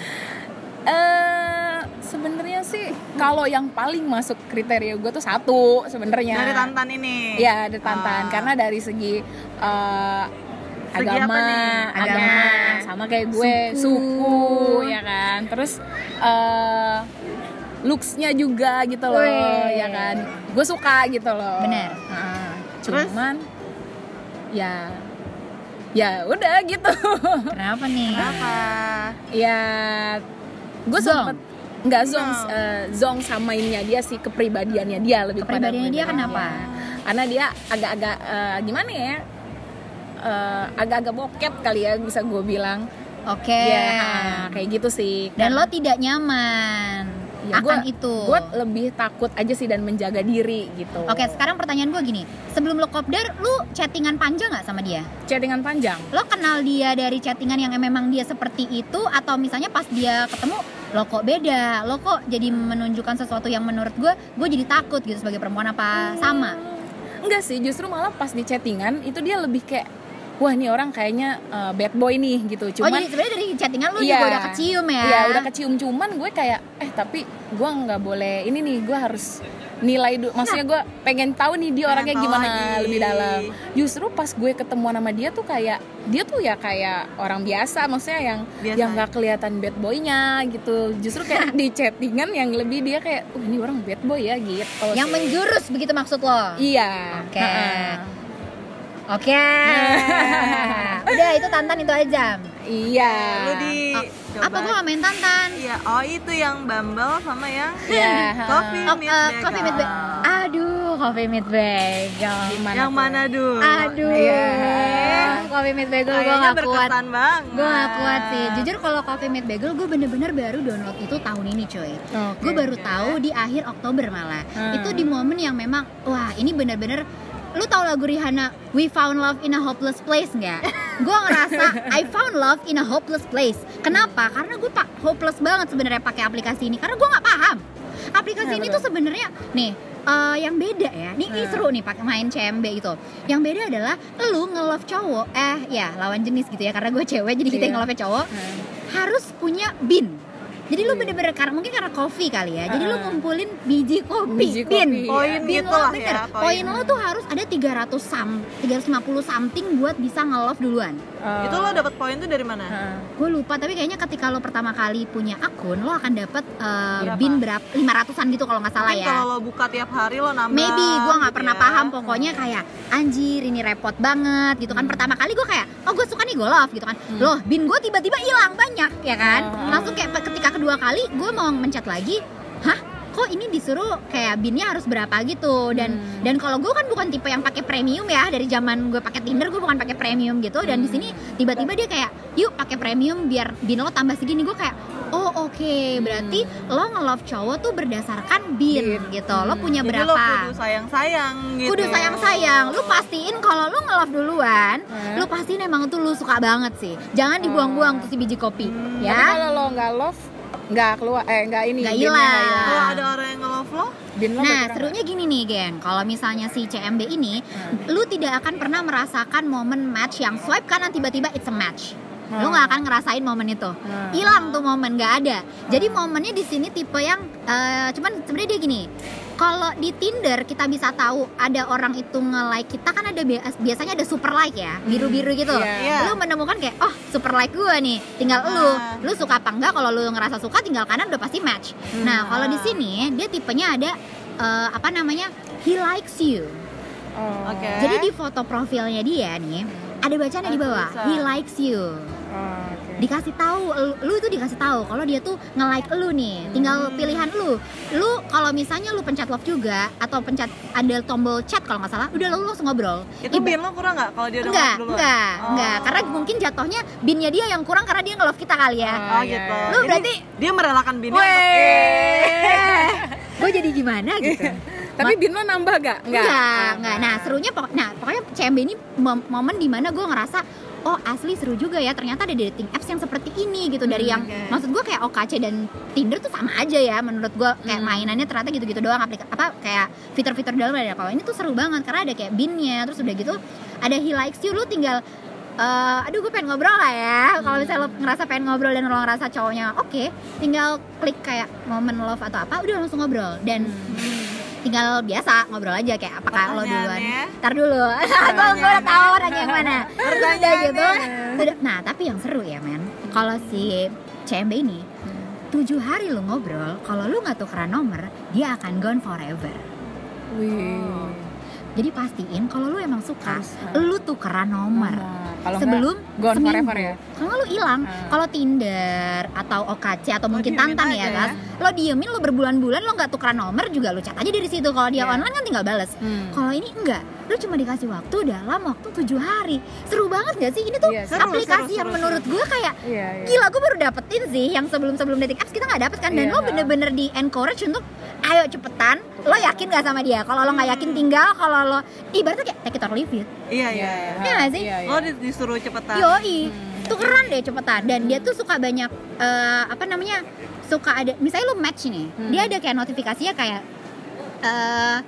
Speaker 2: Eh, sebenarnya sih kalau yang paling masuk kriteria gue tuh satu
Speaker 1: Ya.
Speaker 2: sebenarnya.
Speaker 3: Dari Tantan ini.
Speaker 2: Iya, dari Tantan.
Speaker 3: Ah.
Speaker 2: Karena dari segi eh,
Speaker 3: Segi apa
Speaker 2: agama,
Speaker 3: nih? Iya.
Speaker 2: agama
Speaker 1: Agama.
Speaker 2: sama kayak gue,
Speaker 1: Suku.
Speaker 2: suku, ya kan. Terus eh looks-nya juga gitu loh,
Speaker 1: Weh.
Speaker 2: ya kan. Gue suka gitu loh.
Speaker 1: Bener.
Speaker 2: Nah,
Speaker 3: Terus?
Speaker 2: cuman ya ya udah gitu. *laughs*
Speaker 1: Kenapa nih?
Speaker 3: Kenapa?
Speaker 2: ya gue
Speaker 1: Zong.
Speaker 2: sempet nggak zong
Speaker 3: No.
Speaker 2: eh, zong sama ininya dia sih kepribadiannya dia lebih kepada
Speaker 1: Kepribadiannya dia kenapa?
Speaker 2: karena dia agak-agak eh, gimana ya Eh, agak-agak bokep kali ya bisa gue bilang
Speaker 1: Oke.
Speaker 2: ya ah, kayak gitu
Speaker 1: Eh.
Speaker 2: sih
Speaker 1: Dan lo tidak nyaman
Speaker 2: Ya,
Speaker 1: akan itu.
Speaker 2: gue lebih takut aja sih dan menjaga diri gitu
Speaker 1: Oke, sekarang pertanyaan gue gini, sebelum lo kopdar, lo chattingan panjang nggak sama dia?
Speaker 2: chattingan panjang
Speaker 1: Lo kenal dia dari chattingan yang memang dia seperti itu, atau misalnya pas dia ketemu, lo kok beda, lo kok jadi menunjukkan sesuatu yang menurut gue, gue jadi takut gitu sebagai perempuan apa sama?
Speaker 2: Enggak sih, justru malah pas di chattingan itu dia lebih kayak wah nih orang kayaknya eh, bad boy nih gitu.
Speaker 1: oh
Speaker 2: Cuman
Speaker 1: jadi sebenarnya dari chattingan lo
Speaker 2: Iya.
Speaker 1: juga udah kecium ya?
Speaker 2: Iya udah kecium cuman gue kayak eh tapi gue nggak boleh ini nih gue harus nilai du- maksudnya gue pengen tahu nih dia
Speaker 3: Nah. Pengen
Speaker 2: orangnya
Speaker 3: tahu
Speaker 2: gimana
Speaker 3: lagi.
Speaker 2: lebih dalam justru pas gue ketemu sama dia tuh kayak dia tuh ya kayak orang biasa maksudnya yang
Speaker 3: Biasa.
Speaker 2: yang nggak kelihatan bad boynya gitu justru
Speaker 3: *laughs*
Speaker 2: kayak di chattingan yang lebih dia kayak oh ini orang bad boy ya gitu
Speaker 1: yang
Speaker 2: sih.
Speaker 1: menjurus begitu maksud lo?
Speaker 2: iya
Speaker 1: Oke.
Speaker 2: Heeh.
Speaker 1: Oke,
Speaker 2: *laughs*
Speaker 1: udah itu tantan itu aja.
Speaker 2: iya
Speaker 3: Eh, Lu di
Speaker 1: Oh,
Speaker 3: coba.
Speaker 1: Apa gue main tantan?
Speaker 3: Iya, oh itu yang Bumble sama yang
Speaker 2: Iya.
Speaker 3: *laughs* Coffee
Speaker 1: Oh,
Speaker 3: Meet
Speaker 1: eh,
Speaker 3: Bagel.
Speaker 1: coffee meat bagel. Aduh, coffee meat bagel.
Speaker 2: Gimana
Speaker 3: Yang
Speaker 2: tuh?
Speaker 3: mana dulu?
Speaker 1: Aduh,
Speaker 2: Iya.
Speaker 1: coffee meat bagel gue
Speaker 3: Kayaknya
Speaker 1: gak kuat.
Speaker 3: berkesan banget.
Speaker 1: Gue gak kuat sih. Jujur kalau coffee meat bagel gue bener-bener baru download itu tahun ini coy.
Speaker 2: Oke.
Speaker 1: Gue baru
Speaker 3: oke.
Speaker 1: tahu di akhir Oktober malah.
Speaker 2: Hmm.
Speaker 1: Itu di momen yang memang wah ini bener-bener lu tahu lagu Rihanna We Found Love in a Hopeless Place
Speaker 2: *laughs*
Speaker 1: nggak? gue ngerasa I found love in a hopeless place. Kenapa? Karena gue pak hopeless banget sebenarnya pakai aplikasi ini karena gue nggak paham. Aplikasi
Speaker 2: Ya,
Speaker 1: ini
Speaker 2: betul.
Speaker 1: tuh sebenarnya nih eh, yang beda ya. Nih
Speaker 2: Hmm.
Speaker 1: ini seru nih pakai main CMB itu. gitu. Yang beda adalah lu nge-love cowok eh ya lawan jenis gitu ya karena gue cewek jadi kita
Speaker 2: Iya.
Speaker 1: yang nge-love cowok
Speaker 2: Heeh.
Speaker 1: harus punya bin. Jadi lu bener-bener karena mungkin karena kopi kali ya. Jadi lu
Speaker 2: Heeh.
Speaker 1: ngumpulin biji kopi,
Speaker 2: Biji kopi.
Speaker 1: Bin.
Speaker 3: Poin
Speaker 1: Bin
Speaker 3: gitu
Speaker 1: lo,
Speaker 3: lah
Speaker 1: bener.
Speaker 3: ya,
Speaker 1: Poin
Speaker 3: poin.
Speaker 1: lo tuh harus ada 300 sam, 350 something buat bisa nge-love duluan.
Speaker 2: Eh,
Speaker 3: Itu lo dapet poin tuh dari mana?
Speaker 2: eh,
Speaker 1: Gue lupa tapi kayaknya ketika lo pertama kali punya akun lo akan dapat eh,
Speaker 3: Berapa?
Speaker 1: bin berapa 500-an gitu kalau nggak salah
Speaker 3: Mungkin
Speaker 1: ya.
Speaker 3: kalau lo buka tiap hari lo nambah
Speaker 1: Maybe gue nggak
Speaker 3: gitu
Speaker 1: pernah
Speaker 3: ya.
Speaker 1: paham pokoknya kayak anjir ini repot banget gitu kan pertama kali gue kayak oh gue suka nih gue love gitu kan
Speaker 2: Hmm.
Speaker 1: loh bin gue tiba-tiba hilang banyak ya kan
Speaker 2: Hmm.
Speaker 1: langsung kayak pe- ketika kedua kali gue mau mencet lagi hah kok ini disuruh kayak binnya harus berapa gitu dan
Speaker 2: Hmm.
Speaker 1: dan kalau gue kan bukan tipe yang pakai premium ya dari zaman gue pakai tinder gue bukan pakai premium gitu dan di sini tiba-tiba dia kayak yuk pakai premium biar bin lo tambah segini gue kayak oh oke berarti lo nge-love cowok tuh berdasarkan bin,
Speaker 2: Bin.
Speaker 1: gitu lo
Speaker 2: Hmm.
Speaker 1: punya
Speaker 3: Jadi
Speaker 1: berapa
Speaker 3: lo kudu sayang-sayang gitu
Speaker 1: Kudu sayang-sayang, lu pastiin kalau lu nge-love duluan,
Speaker 2: Hmm.
Speaker 1: lu pastiin emang tuh lu suka banget sih.
Speaker 3: Oh.
Speaker 1: Jangan dibuang-buang tuh si biji kopi,
Speaker 3: Hmm,
Speaker 2: Tapi
Speaker 1: ya.
Speaker 2: kalau lo nggak love, nggak keluar, eh nggak ini,
Speaker 1: Nggak
Speaker 2: binnya nggak
Speaker 1: hilang.
Speaker 3: Kalau ada orang yang nge-love lo
Speaker 2: Bin lo
Speaker 1: Nah,
Speaker 2: berkurang.
Speaker 1: serunya gini nih, geng. Kalau misalnya si CMB ini, lu tidak akan pernah merasakan momen match yang swipe kanan tiba-tiba it's a match. Lu
Speaker 2: Hmm.
Speaker 1: nggak akan ngerasain momen itu.
Speaker 2: Hmm.
Speaker 1: Hilang tuh momen, nggak ada. Jadi momennya di sini tipe yang eh, cuman sebenarnya dia gini. Kalau di Tinder kita bisa tahu ada orang itu nge-like kita kan ada bi- biasanya ada super like ya, biru-biru gitu.
Speaker 2: Iya.
Speaker 3: Iya.
Speaker 1: lu menemukan kayak oh super like gue nih tinggal lu
Speaker 3: Ah.
Speaker 1: lu suka apa enggak kalau lu ngerasa suka tinggal kanan udah pasti match
Speaker 2: Hmm.
Speaker 1: nah kalau di sini dia tipenya ada eh, apa namanya he likes you
Speaker 2: Oh.
Speaker 3: Oke.
Speaker 1: jadi di foto profilnya dia nih ada bacaannya di
Speaker 3: Ada
Speaker 1: bawah
Speaker 3: tulisan.
Speaker 1: he likes you
Speaker 2: Oh, oke.
Speaker 1: dikasih tahu lu- lu itu dikasih tahu kalau dia tuh nge like lu nih tinggal
Speaker 3: Hmm.
Speaker 1: pilihan lu lu kalau misalnya lu pencet love juga atau pencet ada tombol chat kalau nggak salah udah lu langsung ngobrol
Speaker 3: Itu
Speaker 1: Ibu-
Speaker 3: bin lo kurang nggak kalau dia udah
Speaker 1: Enggak,
Speaker 3: nge-love duluan?
Speaker 1: enggak,
Speaker 3: Oh.
Speaker 1: enggak. Karena mungkin jatuhnya binnya dia yang kurang karena dia nge-love kita kali ya.
Speaker 2: Ah,
Speaker 3: Oh
Speaker 2: iya,
Speaker 3: gitu
Speaker 2: iya.
Speaker 1: Lu
Speaker 3: Jadi
Speaker 1: berarti
Speaker 3: Dia merelakan binnya untuk-
Speaker 2: Weh.
Speaker 1: gue jadi gimana gitu.
Speaker 2: Tapi bin lo nambah Ah, gak?
Speaker 1: Enggak, enggak. Nah, serunya pokok nah, pokoknya CMB ini mom- momen dimana gue ngerasa Oh asli seru juga ya ternyata ada dating apps yang seperti ini gitu dari yang
Speaker 3: oke.
Speaker 1: maksud gue kayak OKC dan Tinder tuh sama aja ya menurut gue kayak
Speaker 2: Hmm.
Speaker 1: mainannya ternyata gitu-gitu doang aplik apa kayak fitur-fitur dalam ada kalau ini tuh seru banget karena ada kayak binnya terus udah gitu ada he likes you lu tinggal eh, aduh gue pengen ngobrol lah ya kalau misalnya lo ngerasa pengen ngobrol dan lo ngerasa cowoknya oke tinggal klik kayak momen love atau apa udah langsung ngobrol dan tinggal biasa ngobrol aja kayak apakah
Speaker 3: eh,
Speaker 1: lo duluan
Speaker 3: Pertanyaannya?
Speaker 1: ntar dulu *laughs* gue gue udah tahu nanya yang mana udah gitu
Speaker 3: Pertanyaannya?
Speaker 1: Udah- nah tapi yang seru ya men kalau si CMB ini tujuh hari lo ngobrol kalau lu nggak tukeran nomor dia akan gone forever
Speaker 2: Wih.
Speaker 1: jadi pastiin kalau lu emang suka
Speaker 2: Harus, uh,
Speaker 1: lu tukeran nomor
Speaker 2: Kalau
Speaker 1: sebelum
Speaker 2: nggak, gone
Speaker 1: seminggu.
Speaker 2: forever ya?
Speaker 1: Kalau lu hilang,
Speaker 2: Ah.
Speaker 1: kalau Tinder atau OKC atau
Speaker 3: Lo
Speaker 1: mungkin
Speaker 3: diemin
Speaker 1: Tantan
Speaker 3: aja
Speaker 1: ya,
Speaker 3: ya.
Speaker 1: Gas. Lo diemin lo berbulan-bulan lo nggak tukeran nomor juga lu chat aja dari situ. Kalau dia
Speaker 2: Iya.
Speaker 1: online kan tinggal bales.
Speaker 2: Hmm.
Speaker 1: Kalau ini enggak, lu cuma dikasih waktu dalam waktu tujuh hari. Seru banget gak sih? Ini tuh
Speaker 2: Iya,
Speaker 3: seru,
Speaker 1: aplikasi
Speaker 3: seru,
Speaker 1: yang
Speaker 3: seru,
Speaker 1: menurut gue kayak
Speaker 2: Iya, iya.
Speaker 1: Gila, gue baru dapetin sih yang sebelum-sebelum dating apps kita nggak dapet kan Dan
Speaker 2: Iya.
Speaker 1: lo bener-bener di encourage untuk Ayo cepetan, lo yakin gak sama dia? Kalau lo nggak yakin tinggal, kalau lo Ibaratnya kayak take it or leave it
Speaker 3: Iya iya. iya.
Speaker 1: Iya nggak sih?
Speaker 2: Iya, iya.
Speaker 3: Lo di- disuruh cepetan.
Speaker 1: Yoi, tukeran deh cepetan. Dan dia tuh suka banyak eh, apa namanya? Suka ada misalnya lu match nih.
Speaker 2: Hmm.
Speaker 1: Dia ada kayak notifikasinya kayak eh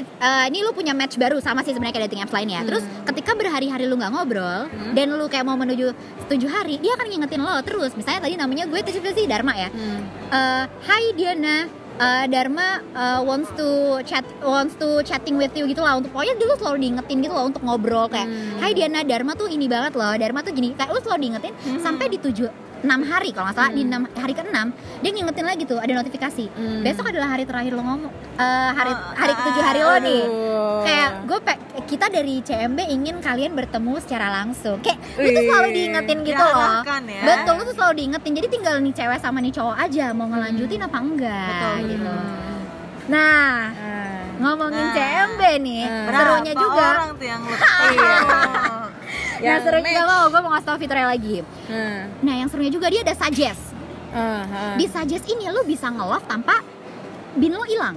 Speaker 1: it- eh, ini lu punya match baru sama sih sebenarnya kayak dating apps lain ya. Terus ketika berhari-hari lu nggak ngobrol dan lu kayak mau menuju tujuh hari, dia akan ngingetin lo terus. Misalnya tadi namanya gue tuh siapa sih Dharma ya.
Speaker 2: Hmm.
Speaker 1: Eh, Hai Diana, eh, Dharma eh, wants to chat wants to chatting with you gitu lah. Untuk pokoknya dulu selalu diingetin gitu loh untuk ngobrol kayak
Speaker 2: Hmm.
Speaker 1: Hai Diana, Dharma tuh ini banget loh. Dharma tuh gini. Kayak lu selalu diingetin
Speaker 2: Hmm.
Speaker 1: sampai di 7 6 hari kalau nggak salah di enam hari ke-6 dia ngingetin lagi tuh ada notifikasi.
Speaker 2: Hmm. ah,
Speaker 1: Besok adalah hari terakhir lo ngomong eh, hari
Speaker 3: Oh,
Speaker 1: hari ke-7 hari lo nih.
Speaker 2: Aduh.
Speaker 1: iya. Kayak gue pe- kita dari CMB ingin kalian bertemu secara langsung. Kayak lu tuh selalu
Speaker 2: Wih.
Speaker 1: diingetin gitu loh.
Speaker 3: Diarahkan ya.
Speaker 1: Betul, lu tuh selalu diingetin. Jadi tinggal nih cewek sama nih cowok aja mau ngelanjutin apa enggak
Speaker 3: Hmm. Betul.
Speaker 1: gitu.
Speaker 2: Hmm.
Speaker 1: Nah,
Speaker 2: Ah.
Speaker 1: ngomongin
Speaker 3: Nah.
Speaker 1: CMB nih,
Speaker 2: Hmm.
Speaker 1: serunya
Speaker 3: Berapa
Speaker 1: juga.
Speaker 3: orang tuh yang lo
Speaker 1: *laughs*
Speaker 3: Iya.
Speaker 1: nah,
Speaker 2: Yang
Speaker 1: serunya juga
Speaker 2: match.
Speaker 1: mau gue mau ngasih tau fiturnya lagi.
Speaker 2: Ya, Hmm.
Speaker 1: Nah, yang serunya juga dia ada suggest.
Speaker 2: Ah,
Speaker 3: Hmm.
Speaker 2: ah.
Speaker 1: Di suggest ini lu bisa nge-love tanpa bin lo hilang.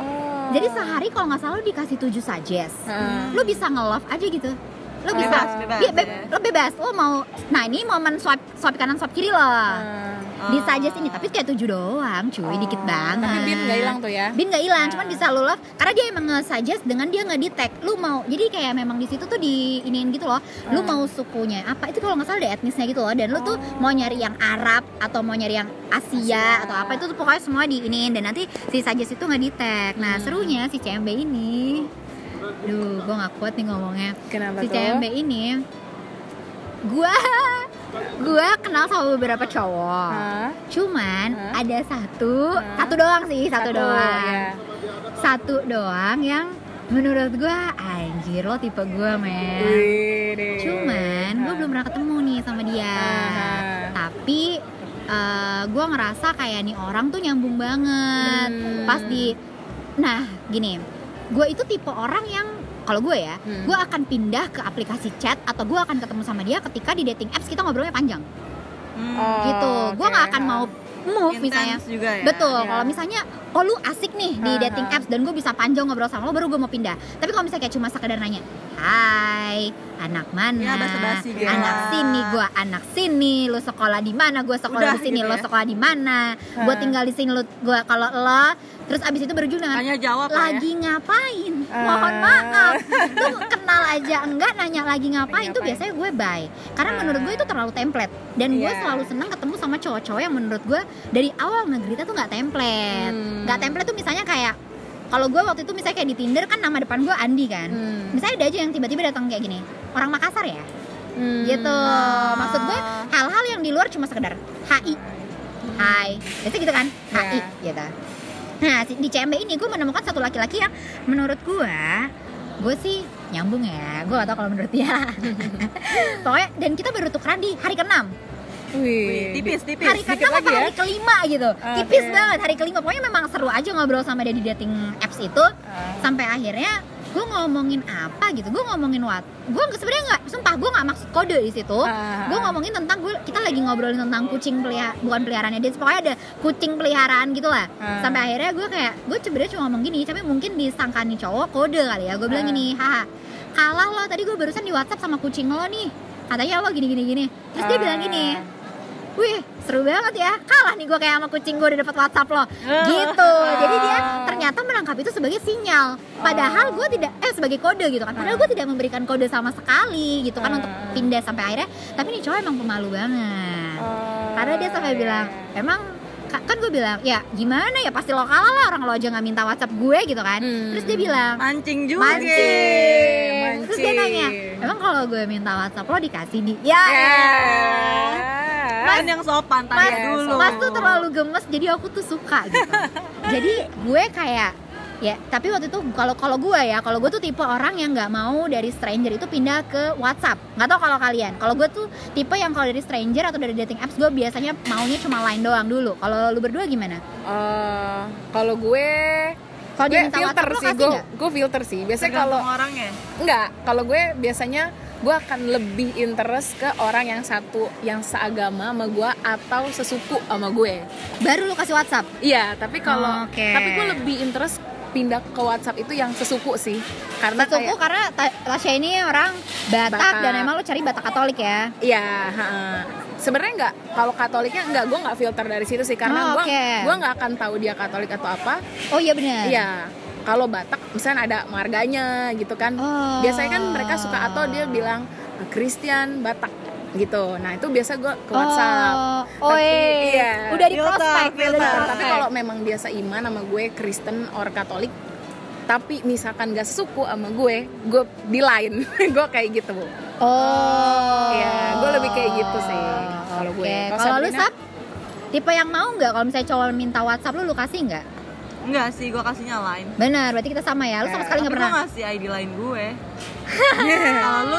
Speaker 2: Oh.
Speaker 1: Jadi sehari kalau nggak salah lu dikasih 7 suggest.
Speaker 2: Ah.
Speaker 1: Lu bisa nge-love aja gitu. lu bisa
Speaker 3: Bebas, bebas,
Speaker 1: Bi- be-
Speaker 3: ya.
Speaker 1: lu bebas lu mau nah ini momen swipe swipe kanan swipe kiri loh
Speaker 3: Ah.
Speaker 1: di suggest ini tapi kayak tujuh doang cuy dikit banget
Speaker 2: Hmm. Oh. Ah, Tapi bin nggak hilang tuh ya.
Speaker 1: bin nggak hilang cuman bisa lu love karena dia emang nge-suggest dengan dia nggak di tag lu mau jadi kayak memang di situ tuh di iniin gitu loh lu mau sukunya apa itu kalau nggak salah ada etnisnya gitu loh dan lu tuh mau nyari yang Arab atau mau nyari yang Asia, atau apa itu tuh pokoknya semua diinin dan nanti si suggest itu nggak di tag nah serunya si CMB ini duh gua nggak kuat nih ngomongnya
Speaker 2: Kenapa
Speaker 1: si
Speaker 2: tuh?
Speaker 1: CMB ini gua gua kenal sama beberapa cowok
Speaker 2: Hah?
Speaker 1: cuman
Speaker 2: Hah?
Speaker 1: ada satu
Speaker 2: Hah?
Speaker 1: satu doang sih satu, doang
Speaker 2: ya.
Speaker 1: satu doang yang menurut gua anjir lo tipe gua men
Speaker 2: Widih.
Speaker 1: Iya. cuman gua
Speaker 2: Ah.
Speaker 1: belum pernah ketemu nih sama dia
Speaker 2: Ah.
Speaker 1: tapi eh, gua ngerasa kayak nih orang tuh nyambung banget
Speaker 2: Hmm.
Speaker 1: pas di nah gini gua itu tipe orang yang kalau gue ya,
Speaker 2: Hmm.
Speaker 1: gua akan pindah ke aplikasi chat atau gua akan ketemu sama dia ketika di dating apps kita ngobrolnya panjang,
Speaker 3: Hmm,
Speaker 2: Oh,
Speaker 1: gitu. Gua
Speaker 2: oke.
Speaker 1: nggak akan mau move Oh,
Speaker 3: intense
Speaker 1: misalnya,
Speaker 3: juga ya.
Speaker 1: Betul,
Speaker 2: Iya.
Speaker 1: kalau misalnya oh lu asik nih di
Speaker 2: Aha.
Speaker 1: dating apps dan gue bisa panjang ngobrol sama lo baru gue mau pindah. Tapi kalau misalnya kayak cuma sekedar nanya, "Hai, anak mana?"
Speaker 3: Ya, basa-basi gitu.
Speaker 1: Anak sini gua, anak sini, lu sekolah di mana? Gua sekolah
Speaker 3: Udah,
Speaker 1: di sini,
Speaker 3: gitu
Speaker 1: lu
Speaker 3: ya.
Speaker 1: sekolah di mana? Gua
Speaker 2: Ha.
Speaker 1: tinggal di sini, lu gua kalau lo terus abis itu berujung dengan
Speaker 3: Tanya jawab lah ya.
Speaker 1: lagi ngapain?
Speaker 2: Ah.
Speaker 1: Mohon maaf. Lu kenal aja enggak nanya lagi ngapain tuh
Speaker 2: Ngapain.
Speaker 1: biasanya gue bye. Karena
Speaker 2: Ah.
Speaker 1: menurut gue itu terlalu template dan gue
Speaker 2: Iya.
Speaker 1: selalu senang ketemu sama cowok-cowok yang menurut gue dari awal ngegrita tuh nggak template.
Speaker 2: Hmm.
Speaker 1: Nggak template tuh misalnya kayak kalau gue waktu itu misalnya kayak di Tinder kan nama depan gue Andi kan.
Speaker 2: Hmm.
Speaker 1: Misalnya ada aja yang tiba-tiba datang kayak gini. Orang Makassar ya?
Speaker 2: Hmm.
Speaker 1: Gitu.
Speaker 3: Ah.
Speaker 1: Maksud gue hal-hal yang di luar cuma sekedar HI. Hai. Biasanya gitu kan?
Speaker 2: Iya.
Speaker 1: HI gitu. Nah, si- di CMB ini gue menemukan satu laki-laki yang menurut gue, gue sih nyambung ya. Gue gak tau kalau menurut
Speaker 2: *laughs*
Speaker 1: dia. Pokoknya, dan kita baru tukeran di hari ke-6.
Speaker 2: Wih.
Speaker 3: Tipis, tipis.
Speaker 1: Hari ke-6
Speaker 2: sedikit
Speaker 1: apa
Speaker 2: lagi ya. Ah, iya.
Speaker 1: hari kelima gitu.
Speaker 2: Oke.
Speaker 1: Tipis banget hari kelima. Pokoknya memang seru aja ngobrol sama dia di dating apps itu.
Speaker 2: Ah.
Speaker 1: Sampai akhirnya gue ngomongin apa gitu gue ngomongin what gue sebenarnya nggak sumpah gue nggak maksud kode di situ
Speaker 2: Ah.
Speaker 1: gue ngomongin tentang gue kita lagi ngobrolin tentang kucing pelihara bukan peliharaannya dia pokoknya ada kucing peliharaan gitu lah
Speaker 2: Ah.
Speaker 1: sampai akhirnya gue kayak gue sebenarnya cuma ngomong gini tapi mungkin disangka nih cowok kode kali ya gue bilang
Speaker 2: Ah.
Speaker 1: gini haha kalah lo tadi gue barusan di WhatsApp sama kucing lo nih katanya lo gini gini gini terus dia
Speaker 2: Ah.
Speaker 1: bilang gini Wih, seru banget ya. Kalah nih gue kayak sama kucing gue udah dapet WhatsApp
Speaker 2: Ah.
Speaker 1: lo. Gitu. Jadi dia ternyata menangkap itu sebagai sinyal. Padahal
Speaker 2: Oh.
Speaker 1: gue tidak eh sebagai kode gitu kan. Padahal gue tidak memberikan kode sama sekali gitu kan untuk pindah sampai akhirnya. Tapi nih cowok emang pemalu banget.
Speaker 2: Hmm. Oh,
Speaker 1: Karena dia sampai
Speaker 2: iya.
Speaker 1: bilang, "Emang ka- kan gue bilang, ya gimana ya pasti lo kalah lah orang lo aja nggak minta WhatsApp gue gitu kan."
Speaker 2: Hmm.
Speaker 1: Terus dia bilang,
Speaker 3: Mancing juga.
Speaker 1: "Mancing."
Speaker 2: Mancing.
Speaker 1: Terus dia nanya, "Emang kalau gue minta WhatsApp lo dikasih di?" Ya. gitu. elah.
Speaker 2: Ya.
Speaker 3: Kan yang sopan tanya
Speaker 1: Mas,
Speaker 3: dulu.
Speaker 1: Mas tuh terlalu gemes jadi aku tuh suka
Speaker 2: *laughs*
Speaker 1: gitu. jadi gue kayak ya tapi waktu itu kalau kalau gue ya kalau gue tuh tipe orang yang nggak mau dari stranger itu pindah ke WhatsApp nggak tau kalau kalian kalau gue tuh tipe yang kalau dari stranger atau dari dating apps gue biasanya maunya cuma line doang dulu kalau lu berdua gimana
Speaker 2: Eh, kalau gue
Speaker 1: Kalau
Speaker 2: gue
Speaker 1: diminta
Speaker 2: filter
Speaker 1: WhatsApp, lo
Speaker 2: sih
Speaker 1: kasih
Speaker 2: gue
Speaker 1: nggak?
Speaker 2: gue filter sih biasanya kalau
Speaker 3: Tergantung orang ya.
Speaker 2: enggak kalau gue biasanya gue akan lebih interest ke orang yang satu yang seagama sama gue atau sesuku sama gue
Speaker 1: baru lu kasih WhatsApp
Speaker 2: iya tapi kalau
Speaker 1: Oh, Oke.
Speaker 2: tapi gue lebih interest pindah ke WhatsApp itu yang sesuku sih karena
Speaker 1: Sesuku
Speaker 2: kayak-
Speaker 1: karena Ta- Tasya ini orang Batak,
Speaker 2: Batak.
Speaker 1: dan emang lu cari Batak Katolik ya
Speaker 2: Iya, heeh. sebenarnya nggak. Kalau Katoliknya nggak, gue nggak filter dari situ sih karena
Speaker 1: Oh,
Speaker 2: gue
Speaker 1: oke.
Speaker 2: gue nggak akan tahu dia Katolik atau apa.
Speaker 1: oh iya benar
Speaker 2: Iya, kalau Batak misalnya ada marganya gitu kan.
Speaker 1: Oh.
Speaker 2: Biasanya kan mereka suka atau dia bilang "Ah, Christian Batak gitu. Nah itu biasa gue ke WhatsApp.
Speaker 1: oh, oh
Speaker 2: Tapi- iya.
Speaker 1: iya. udah di
Speaker 3: Filter,
Speaker 1: prospek udah di
Speaker 3: filter.
Speaker 1: prospek.
Speaker 2: Tapi kalau memang dia seiman sama gue Kristen or Katolik, tapi misalkan gak sesuku sama gue, gue di *laughs* lain, gue kayak gitu.
Speaker 1: Oh.
Speaker 2: Iya, gue lebih kayak gitu sih, kalau gue.
Speaker 1: Oke,
Speaker 2: Kalau
Speaker 1: Kalau lu
Speaker 2: Sabrina?
Speaker 1: sap tipe yang mau nggak kalau misalnya cowok minta WhatsApp lu lu kasih nggak?
Speaker 3: Enggak sih, gue kasihnya lain.
Speaker 1: Benar, berarti kita sama ya. Lu sama
Speaker 2: Eh,
Speaker 1: sekali nggak
Speaker 3: Tapi
Speaker 2: *laughs*
Speaker 1: pernah.
Speaker 3: gue ngasih ID lain
Speaker 1: *laughs*
Speaker 3: gue. Iya. Kalau lu,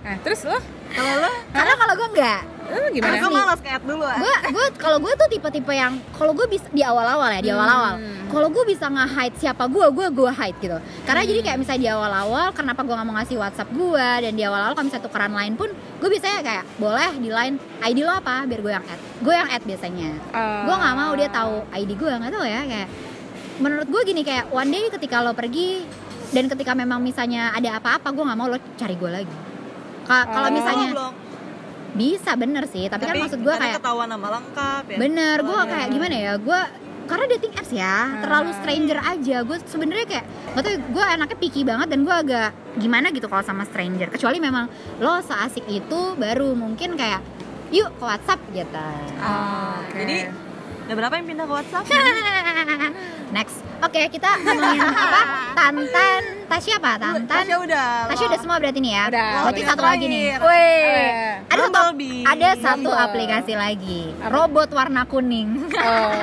Speaker 2: Nah terus lo,
Speaker 3: kalau lu,
Speaker 1: Karena kalau gue nggak,
Speaker 2: lo
Speaker 3: karena
Speaker 2: gimana?
Speaker 3: gue
Speaker 1: Asli.
Speaker 3: malas kayak dulu ah.
Speaker 1: gue gue kalau gue tuh tipe-tipe yang kalau gue bisa di awal-awal ya di awal-awal
Speaker 2: Hmm.
Speaker 1: kalau gue bisa nge-hide siapa gue gue gue hide gitu karena jadi kayak misalnya di awal-awal kenapa gue nggak mau ngasih WhatsApp gue dan di awal-awal kalau misalnya tukeran lain pun gue biasanya kayak boleh di line ID lo apa biar gue yang add gue yang add biasanya
Speaker 2: Ah.
Speaker 1: gue nggak mau dia tahu ID gue nggak tahu ya kayak menurut gue gini kayak one day ketika lo pergi dan ketika memang misalnya ada apa-apa gue nggak mau lo cari gue lagi Ka- kalau
Speaker 2: Oh.
Speaker 1: misalnya
Speaker 3: Oh, blok.
Speaker 1: bisa bener sih tapi, kan maksud gue
Speaker 3: karena
Speaker 1: kayak
Speaker 3: ketahuan nama lengkap ya
Speaker 1: bener gue
Speaker 3: Ketahuan
Speaker 1: kayak
Speaker 3: ya.
Speaker 1: gimana ya gue karena dating apps ya terlalu stranger aja gue sebenarnya kayak gak tau gue anaknya picky banget dan gue agak gimana gitu kalau sama stranger kecuali memang lo seasik itu baru mungkin kayak yuk ke WhatsApp gitu
Speaker 2: Ah, oke.
Speaker 3: jadi ada berapa yang pindah ke WhatsApp
Speaker 1: *laughs* next oke kita ngomongin apa tantan Tasya apa tantan
Speaker 3: Tasya udah
Speaker 1: Tasya udah semua berarti nih ya
Speaker 2: Udah.
Speaker 1: berarti
Speaker 3: Yang
Speaker 1: satu lagi nih
Speaker 3: terakhir.
Speaker 1: Wih.
Speaker 2: Eh.
Speaker 1: ada satu
Speaker 3: Bumblebee.
Speaker 1: ada satu
Speaker 2: Bumble.
Speaker 1: aplikasi lagi
Speaker 2: Apa?
Speaker 1: robot warna kuning *laughs*
Speaker 2: Oh,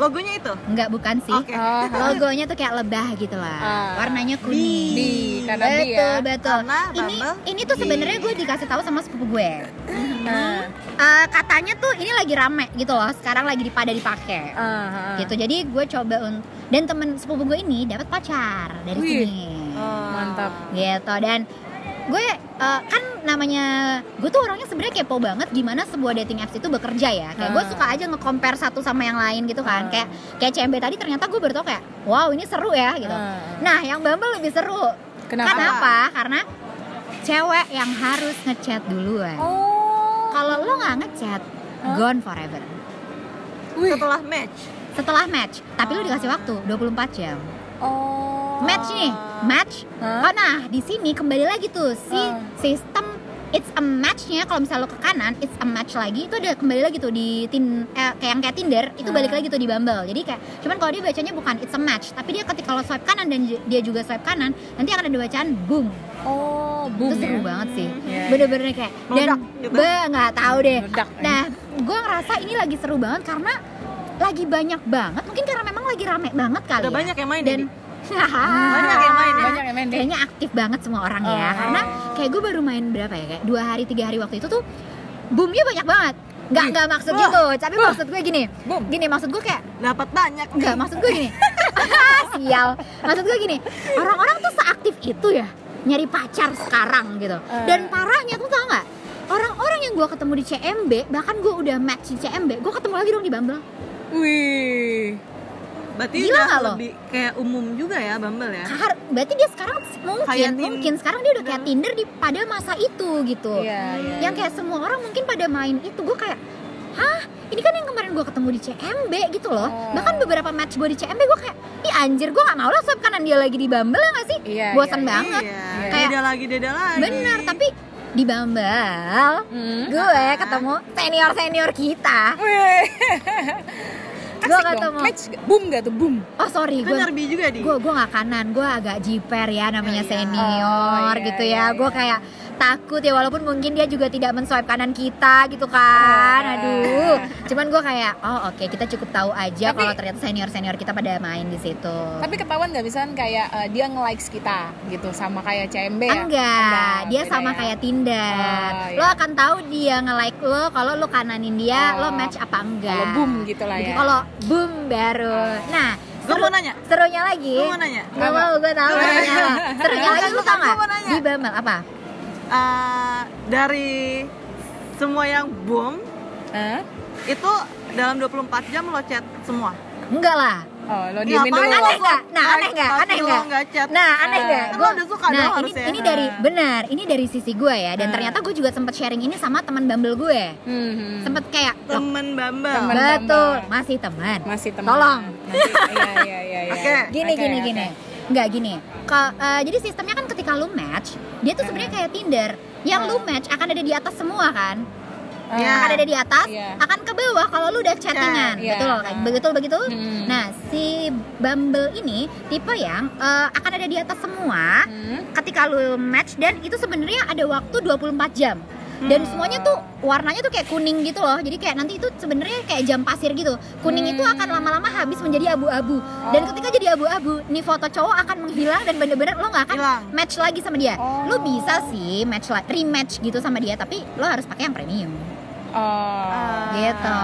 Speaker 3: logonya itu
Speaker 1: Enggak bukan sih.
Speaker 3: Oke.
Speaker 2: oh,
Speaker 1: Logonya tuh kayak lebah gitu lah.
Speaker 2: Ah.
Speaker 1: Warnanya
Speaker 2: di, ya.
Speaker 1: kuning.
Speaker 2: karena
Speaker 1: Betul,
Speaker 2: dia.
Speaker 1: betul.
Speaker 3: Karena
Speaker 1: ini
Speaker 3: Bumble
Speaker 1: ini tuh sebenarnya gue dikasih tahu sama sepupu gue.
Speaker 2: Ah,
Speaker 1: Eh, katanya tuh ini lagi rame gitu loh. Sekarang lagi pada dipakai.
Speaker 2: ah, ah.
Speaker 1: Gitu. Jadi gue coba un- dan temen sepupu gue ini dapat pacar dari
Speaker 2: Wih. Oh.
Speaker 1: sini.
Speaker 3: Eh,
Speaker 2: Mantap.
Speaker 1: Gitu dan gue eh, kan namanya gue tuh orangnya sebenarnya kepo banget gimana sebuah dating apps itu bekerja ya kayak gue
Speaker 2: Ah.
Speaker 1: suka aja nge-compare satu sama yang lain gitu kan
Speaker 2: Ah.
Speaker 1: kayak kayak CMB tadi ternyata gue baru tau kayak wow ini seru ya gitu
Speaker 2: Ah.
Speaker 1: nah yang Bumble lebih seru
Speaker 2: Kenapa?
Speaker 1: Kenapa? karena cewek yang harus ngechat duluan
Speaker 2: Oh,
Speaker 1: kalau lo nggak ngechat
Speaker 2: Hah?
Speaker 1: gone forever
Speaker 2: wih.
Speaker 3: setelah match
Speaker 1: setelah match tapi lo dikasih waktu 24 jam
Speaker 2: Oh.
Speaker 1: match nih match
Speaker 2: Hah?
Speaker 1: oh nah di sini kembali lagi tuh si
Speaker 2: Ah.
Speaker 1: sistem it's a matchnya kalau misalnya lo ke kanan it's a match lagi itu ada kembali lagi tuh di tin eh, kayak yang kayak Tinder itu
Speaker 2: Ah.
Speaker 1: balik lagi tuh di Bumble jadi kayak cuman kalau dia bacanya bukan it's a match tapi dia ketika lo swipe kanan dan j- dia juga swipe kanan nanti akan ada bacaan boom
Speaker 2: Oh,
Speaker 1: itu
Speaker 2: boom.
Speaker 1: seru
Speaker 2: ya?
Speaker 1: banget sih
Speaker 2: Iya.
Speaker 1: bener-bener kayak dan
Speaker 3: Meledak gitu.
Speaker 1: gue nggak tahu deh
Speaker 2: Meledak.
Speaker 1: nah gue ngerasa ini lagi seru banget karena lagi banyak banget mungkin karena memang lagi rame banget kali
Speaker 3: udah
Speaker 1: ya
Speaker 3: banyak yang main
Speaker 1: dan
Speaker 3: Dedi.
Speaker 1: *laughs* banyak
Speaker 3: yang main ya?
Speaker 2: Banyak yang main deh.
Speaker 1: kayaknya aktif banget semua orang ya
Speaker 2: Oh.
Speaker 1: karena kayak gue baru main berapa ya kayak dua hari tiga hari waktu itu tuh boomnya banyak banget nggak
Speaker 2: Wih.
Speaker 1: nggak maksud
Speaker 2: Wah.
Speaker 1: gitu tapi maksud gue gini
Speaker 2: Boom.
Speaker 1: gini maksud gue kayak
Speaker 3: dapat banyak
Speaker 1: nggak maksud gue gini *laughs* sial maksud gue gini orang-orang tuh seaktif itu ya nyari pacar sekarang gitu
Speaker 2: Eh.
Speaker 1: dan parahnya tuh tau nggak orang-orang yang gue ketemu di CMB bahkan gue udah match di CMB gue ketemu lagi dong di Bumble
Speaker 2: Wih.
Speaker 3: berarti
Speaker 1: Gila
Speaker 3: udah
Speaker 1: nggak lo?
Speaker 3: lebih kayak umum juga ya Bumble ya
Speaker 1: Har- berarti dia sekarang mungkin
Speaker 3: Kayak Tin-
Speaker 1: mungkin sekarang dia udah kayak Tinder di pada masa itu gitu
Speaker 2: Iya, iya.
Speaker 1: yang kayak semua orang mungkin pada main itu gue kayak hah ini kan yang kemarin gue ketemu di CMB gitu loh
Speaker 2: Oh.
Speaker 1: bahkan beberapa match gue di CMB gue kayak ih anjir gue gak mau lah swipe kanan dia lagi di Bumble ya gak sih
Speaker 2: Iya,
Speaker 1: bosan
Speaker 2: iya,
Speaker 1: banget
Speaker 3: iya.
Speaker 1: Kayak-
Speaker 3: beda lagi beda lagi
Speaker 1: bener tapi di Bumble
Speaker 2: Hmm.
Speaker 1: gue ketemu senior senior kita
Speaker 2: Wih.
Speaker 1: Gua
Speaker 2: Asik dong.
Speaker 1: ketemu.
Speaker 2: Match nggak? boom gak tuh boom?
Speaker 1: oh sorry
Speaker 3: itu
Speaker 1: gue
Speaker 3: nyerbi juga di
Speaker 1: gue gue nggak kanan gue agak jiper ya namanya
Speaker 3: Oh, iya.
Speaker 1: senior
Speaker 2: Oh, iya,
Speaker 1: gitu
Speaker 2: iya,
Speaker 1: ya gue
Speaker 2: iya.
Speaker 1: kayak takut ya walaupun mungkin dia juga tidak menswipe kanan kita gitu kan
Speaker 2: Ah.
Speaker 1: aduh cuman gue kayak oh oke kita cukup tahu aja
Speaker 2: Tapi- Kan
Speaker 1: kalau ternyata senior senior kita pada main di situ
Speaker 2: Tapi ketahuan gak misalkan kayak eh, dia nge-likes kita gitu sama kayak CMB ya?
Speaker 1: enggak, dia
Speaker 2: beda
Speaker 1: sama
Speaker 2: ya.
Speaker 1: kayak Tinder
Speaker 2: Oh, iya.
Speaker 1: lo akan tahu dia nge like lo kalau lo kananin dia lo
Speaker 2: Oh.
Speaker 1: match apa enggak
Speaker 2: kalau boom gitu lah
Speaker 1: Jadi
Speaker 2: ya.
Speaker 1: kalau boom baru
Speaker 2: Oh.
Speaker 1: nah
Speaker 3: gue
Speaker 1: seru- Iya.
Speaker 3: mau nanya
Speaker 1: serunya lagi
Speaker 3: gue mau nanya
Speaker 1: Gak mau gue tau
Speaker 3: Gak
Speaker 1: nanya
Speaker 3: mau.
Speaker 1: apa Serunya
Speaker 3: Bukan,
Speaker 1: lagi lu
Speaker 3: bukan,
Speaker 1: tau
Speaker 3: gua
Speaker 1: gak?
Speaker 3: mau nanya.
Speaker 1: Di Bumble apa?
Speaker 3: Eh, dari semua yang boom
Speaker 2: Hah?
Speaker 3: itu dalam 24 jam lo chat semua
Speaker 1: Enggak lah
Speaker 2: Oh, lo diemin
Speaker 3: ngapain
Speaker 2: dulu.
Speaker 1: Aneh gak? Nah
Speaker 3: Like,
Speaker 1: aneh gak?
Speaker 3: tapi
Speaker 1: Aneh
Speaker 3: lo
Speaker 1: gak?
Speaker 3: nggak chat.
Speaker 1: Nah aneh
Speaker 2: Ah.
Speaker 1: gak?
Speaker 3: Kan
Speaker 1: Gua-
Speaker 3: lo udah suka
Speaker 1: Nah
Speaker 3: dong
Speaker 1: ini,
Speaker 3: harusnya. Nah.
Speaker 1: ini dari,
Speaker 2: Ah.
Speaker 1: benar ini dari sisi gue ya Dan
Speaker 2: Ah.
Speaker 1: ternyata gue juga sempet sharing ini sama teman Bumble gue
Speaker 2: Hmm, hmm.
Speaker 1: Sempet kayak loh,
Speaker 3: temen Eh. bumble
Speaker 2: Temen.
Speaker 1: Betul,
Speaker 2: Bumble.
Speaker 1: masih teman
Speaker 2: masih teman.
Speaker 1: Tolong.
Speaker 2: Masih- Iya, iya, iya, iya.
Speaker 3: Oke.
Speaker 1: gini
Speaker 2: Oke,
Speaker 1: gini
Speaker 2: oke.
Speaker 1: gini nggak gini Ka- eh, jadi sistemnya kan ketika lu match dia tuh
Speaker 3: Nah.
Speaker 1: sebenarnya kayak Tinder yang lu match akan ada di atas semua kan
Speaker 2: Ah,
Speaker 3: Ya.
Speaker 1: akan ada di atas
Speaker 2: Iya.
Speaker 1: akan ke bawah kalau lu udah chattingan
Speaker 2: Iya.
Speaker 1: betul kan begitu begitu
Speaker 2: Hmm.
Speaker 1: nah si Bumble ini tipe yang eh, akan ada di atas semua
Speaker 2: Hmm.
Speaker 1: ketika lu match dan itu sebenarnya ada waktu 24 jam dan
Speaker 3: Hmm.
Speaker 1: semuanya tuh warnanya tuh kayak kuning gitu loh jadi kayak nanti itu sebenarnya kayak jam pasir gitu kuning itu
Speaker 2: Hmm.
Speaker 1: akan lama-lama habis menjadi abu-abu
Speaker 2: Oh.
Speaker 1: dan ketika jadi abu-abu nih foto cowok akan menghilang dan bener-bener lo nggak akan
Speaker 3: Hilang.
Speaker 1: match lagi sama dia
Speaker 2: Oh.
Speaker 1: lo bisa sih match la- rematch gitu sama dia tapi lo harus pakai yang premium
Speaker 2: Oh.
Speaker 1: gitu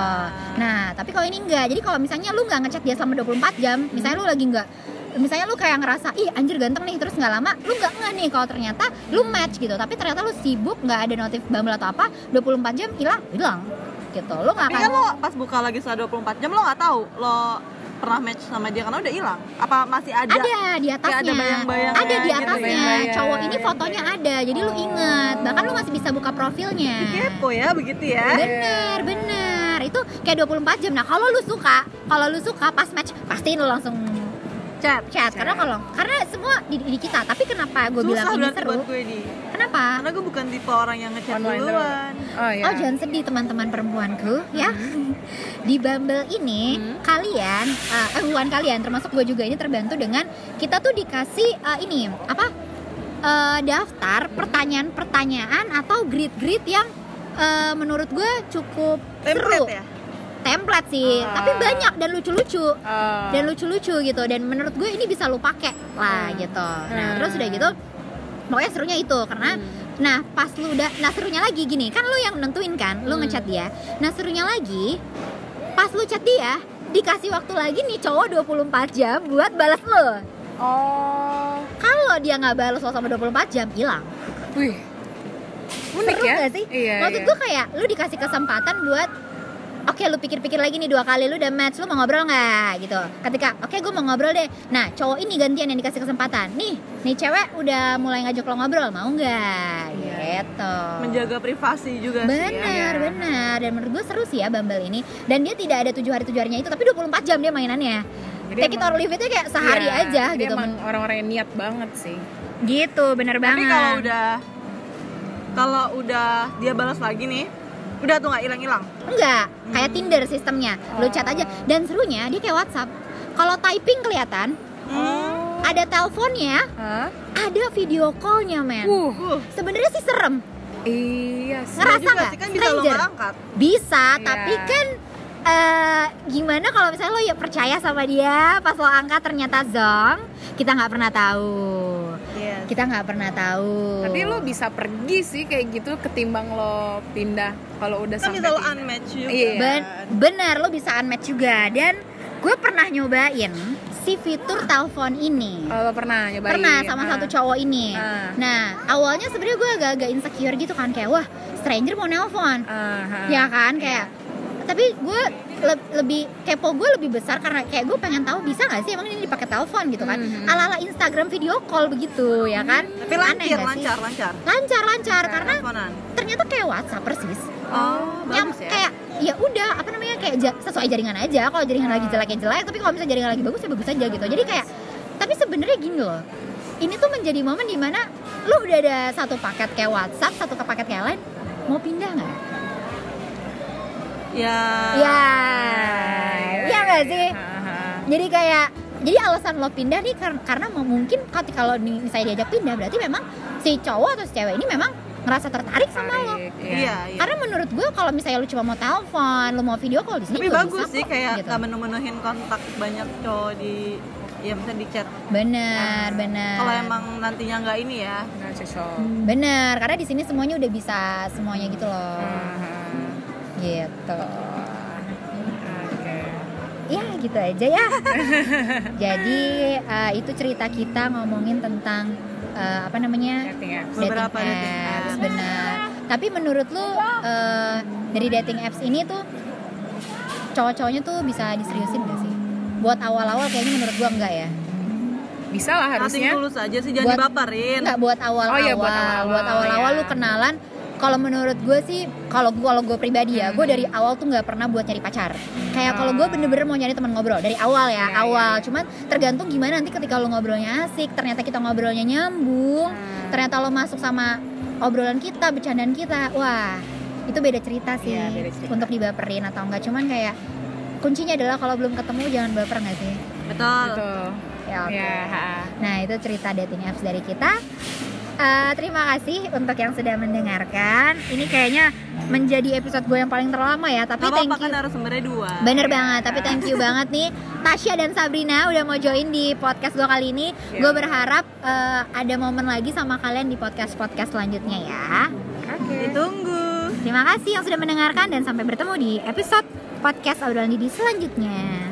Speaker 1: nah tapi kalau ini enggak jadi kalau misalnya lu nggak ngechat dia selama 24 jam misalnya lu lagi nggak misalnya lu kayak ngerasa ih anjir ganteng nih terus nggak lama lu nggak nggak nih kalau ternyata lu match gitu tapi ternyata lu sibuk nggak ada notif bumble atau apa 24 jam hilang hilang gitu lu nggak
Speaker 3: tapi
Speaker 1: akan
Speaker 3: kan lo pas buka lagi setelah 24 jam lo nggak tahu lo pernah match sama dia karena udah hilang? Apa masih ada?
Speaker 1: ada di atasnya
Speaker 3: ada bayang-bayangnya
Speaker 1: Ada di
Speaker 3: gitu ya.
Speaker 1: atasnya
Speaker 2: Bayang-bayang.
Speaker 1: cowok ini fotonya ada jadi lu inget bahkan lu masih bisa buka profilnya
Speaker 3: Kepo ya begitu ya.
Speaker 1: bener bener itu kayak 24 jam nah kalau lu suka kalau lu suka pas match pasti lu langsung chat chat karena kalau karena semua di, di kita tapi kenapa gue bilang
Speaker 3: Susah
Speaker 1: ini
Speaker 3: berarti
Speaker 1: seru
Speaker 3: buat gue di.
Speaker 1: kenapa
Speaker 3: Karena gue bukan tipe orang yang ngechat
Speaker 2: Online doang.
Speaker 3: duluan.
Speaker 2: Oh iya.
Speaker 1: Oh jangan sedih teman-teman perempuanku ya *laughs* Di Bumble ini
Speaker 2: Hmm.
Speaker 1: kalian, eh, eh bukan kalian termasuk gue juga ini terbantu dengan Kita tuh dikasih eh, ini apa eh, daftar pertanyaan-pertanyaan atau grid-grid yang eh, menurut gue cukup
Speaker 3: Template
Speaker 1: seru
Speaker 3: ya.
Speaker 1: Template sih,
Speaker 2: Ah.
Speaker 1: tapi banyak dan lucu-lucu
Speaker 2: Ah.
Speaker 1: dan lucu-lucu gitu dan menurut gue ini bisa lu pakai lah
Speaker 2: Hmm.
Speaker 1: gitu nah
Speaker 2: Hmm.
Speaker 1: terus udah gitu pokoknya serunya itu karena nah pas lu udah nah serunya lagi gini kan lu yang nentuin kan lu
Speaker 2: Hmm.
Speaker 1: ngechat dia nah serunya lagi pas lu chat dia dikasih waktu lagi nih cowok 24 jam buat balas lu
Speaker 2: Oh.
Speaker 1: kalau dia nggak balas lo sama 24 jam hilang
Speaker 2: Wih. Unik
Speaker 1: Seru
Speaker 2: ya?
Speaker 1: nggak sih?
Speaker 2: Iya.
Speaker 1: Maksud
Speaker 2: iya.
Speaker 1: gue kayak lu dikasih kesempatan buat Oke lu pikir-pikir lagi nih dua kali lu udah match lu mau ngobrol nggak gitu Ketika oke gue mau ngobrol deh Nah cowok ini gantian yang dikasih kesempatan Nih nih cewek udah mulai ngajak lo ngobrol mau nggak
Speaker 2: Iya.
Speaker 1: gitu
Speaker 3: Menjaga privasi juga sih ya.
Speaker 1: Bener bener dan menurut gue seru sih ya Bumble ini Dan dia tidak ada tujuh hari tujuh harinya itu tapi 24 jam dia mainannya
Speaker 2: Jadi
Speaker 1: Take it
Speaker 2: emang-
Speaker 1: or leave itu kayak sehari
Speaker 2: Iya,
Speaker 1: aja
Speaker 2: dia
Speaker 1: gitu
Speaker 2: Emang orang-orang yang niat banget sih.
Speaker 1: Gitu bener
Speaker 3: Tapi
Speaker 1: banget
Speaker 3: kalau udah kalau udah dia balas lagi nih, udah tuh nggak hilang-hilang.
Speaker 1: Enggak, kayak Tinder sistemnya. Lu chat aja dan serunya dia kayak WhatsApp. Kalau typing kelihatan,
Speaker 3: Hmm.
Speaker 1: ada teleponnya,
Speaker 2: Oh. Hah?
Speaker 1: ada video callnya men.
Speaker 2: Uh.
Speaker 3: Uh,
Speaker 1: Sebenarnya sih serem,
Speaker 2: Iya sih.
Speaker 1: Ngerasa
Speaker 3: juga
Speaker 1: nggak?
Speaker 3: sih kan bisa lo
Speaker 1: Stranger.
Speaker 3: nggak angkat.
Speaker 1: bisa
Speaker 2: Iya.
Speaker 1: tapi kan eh, gimana kalau misalnya lo ya percaya sama dia, pas lo angkat ternyata zong, kita nggak pernah tahu.
Speaker 3: Yes.
Speaker 1: Iya. Kita nggak pernah tahu.
Speaker 2: Tapi lo bisa pergi sih kayak gitu ketimbang lo pindah kalau udah
Speaker 3: Kan
Speaker 2: sampai.
Speaker 3: bisa lo
Speaker 2: pindah.
Speaker 3: unmatch juga.
Speaker 2: Iya.
Speaker 1: Ben- bener lo bisa unmatch juga dan gue pernah nyobain si fitur telepon ini.
Speaker 2: Oh, lo pernah nyobain?
Speaker 1: pernah sama
Speaker 2: Ah.
Speaker 1: satu cowok ini.
Speaker 2: Ah.
Speaker 1: Nah, awalnya sebenarnya gue agak-agak insecure gitu kan kayak wah stranger mau nelpon,
Speaker 2: Ah, ah.
Speaker 1: ya kan kayak. Tapi gue le- lebih kepo gue lebih besar karena kayak gue pengen tahu bisa nggak sih emang ini dipakai telepon gitu kan?
Speaker 2: Mhm.
Speaker 1: Ala-ala Instagram video call begitu ya kan?
Speaker 3: Hmm, Tapi
Speaker 1: Aneh nggak
Speaker 3: lancar,
Speaker 1: sih?
Speaker 3: lancar, lancar.
Speaker 1: lancar, lancar karena
Speaker 3: Teleponan.
Speaker 1: ternyata kayak WhatsApp persis.
Speaker 3: Oh,
Speaker 1: yang
Speaker 3: bagus ya.
Speaker 1: kayak ya udah apa namanya kayak ja- sesuai jaringan aja kalau jaringan
Speaker 3: Hmm.
Speaker 1: lagi jelek ya jelek tapi kalau misalnya jaringan lagi bagus ya bagus aja gitu jadi kayak tapi sebenarnya gini loh ini tuh menjadi momen dimana lu udah ada satu paket kayak WhatsApp satu ke paket kayak lain mau pindah nggak
Speaker 3: Ya.
Speaker 1: ya ya nggak sih
Speaker 2: Iya, Ah, ah.
Speaker 1: jadi kayak jadi alasan lo pindah nih kar- karena mau- mungkin ketika lo di- misalnya diajak pindah berarti memang si cowok atau si cewek ini memang ngerasa tertarik sama lo
Speaker 2: Tarik,
Speaker 3: Iya, iya.
Speaker 1: karena menurut gue kalau misalnya lu cuma mau telepon, lu mau video call di sini
Speaker 3: Tapi
Speaker 1: juga
Speaker 3: bagus
Speaker 1: bisa
Speaker 3: sih
Speaker 1: kok,
Speaker 3: kayak
Speaker 1: gitu.
Speaker 3: nggak menemuin kontak banyak cowok di ya misalnya di chat.
Speaker 1: Bener, bener.
Speaker 3: Kalau emang nantinya nggak ini ya,
Speaker 2: Nggak Nah, cocok.
Speaker 1: bener, karena di sini semuanya udah bisa semuanya gitu loh.
Speaker 2: Ah,
Speaker 1: Gitu.
Speaker 2: ah. Oke.
Speaker 1: Ya, gitu aja
Speaker 3: *laughs*
Speaker 1: ya. Jadi eh, itu cerita kita ngomongin tentang eh, apa namanya?
Speaker 2: Dating apps.
Speaker 3: Beberapa
Speaker 1: dating
Speaker 3: dating
Speaker 1: apps,
Speaker 3: apps.
Speaker 1: benar. Tapi menurut lu eh, dari dating apps ini tuh cowok-cowoknya tuh bisa diseriusin gak sih? Buat awal-awal kayaknya menurut gua enggak ya.
Speaker 2: Bisa lah harusnya.
Speaker 3: cutting tulus aja sih jangan
Speaker 1: Buat-
Speaker 3: dibaperin.
Speaker 1: Enggak buat awal-awal.
Speaker 2: Oh iya, buat awal-awal,
Speaker 1: Buat awal-awal
Speaker 2: ya.
Speaker 1: lu kenalan kalau menurut gue sih kalau gue kalau gue pribadi
Speaker 2: Hmm.
Speaker 1: ya gue dari awal tuh nggak pernah buat nyari pacar kayak kalau gue bener-bener mau nyari teman ngobrol dari awal ya
Speaker 2: Ah. Iya,
Speaker 1: awal
Speaker 2: iya.
Speaker 1: cuman tergantung gimana nanti ketika lo ngobrolnya asik ternyata kita ngobrolnya nyambung
Speaker 2: Hmm.
Speaker 1: ternyata lo masuk sama obrolan kita bercandaan kita wah itu beda cerita sih
Speaker 2: Iya, beda cerita.
Speaker 1: untuk dibaperin atau enggak cuman kayak kuncinya adalah kalau belum ketemu jangan baper nggak sih
Speaker 3: Betul.
Speaker 2: Betul.
Speaker 1: ya oke.
Speaker 2: Ya. ah.
Speaker 1: Nah itu cerita dating apps dari kita Eh, Terima kasih untuk yang sudah mendengarkan Ini kayaknya menjadi episode gue yang paling terlama ya Tapi
Speaker 3: Gak
Speaker 1: thank
Speaker 3: apa-apa
Speaker 1: you
Speaker 3: kan harus sumbernya dua.
Speaker 1: Bener banget, tapi thank you banget nih Tasya dan Sabrina udah mau join di podcast gue kali ini
Speaker 3: Iya.
Speaker 2: Ya.
Speaker 1: Gue berharap eh, ada momen lagi sama kalian di podcast-podcast selanjutnya ya
Speaker 2: Oke.
Speaker 3: Ditunggu.
Speaker 1: Terima kasih yang sudah mendengarkan Dan sampai bertemu di episode podcast obrolan Didi selanjutnya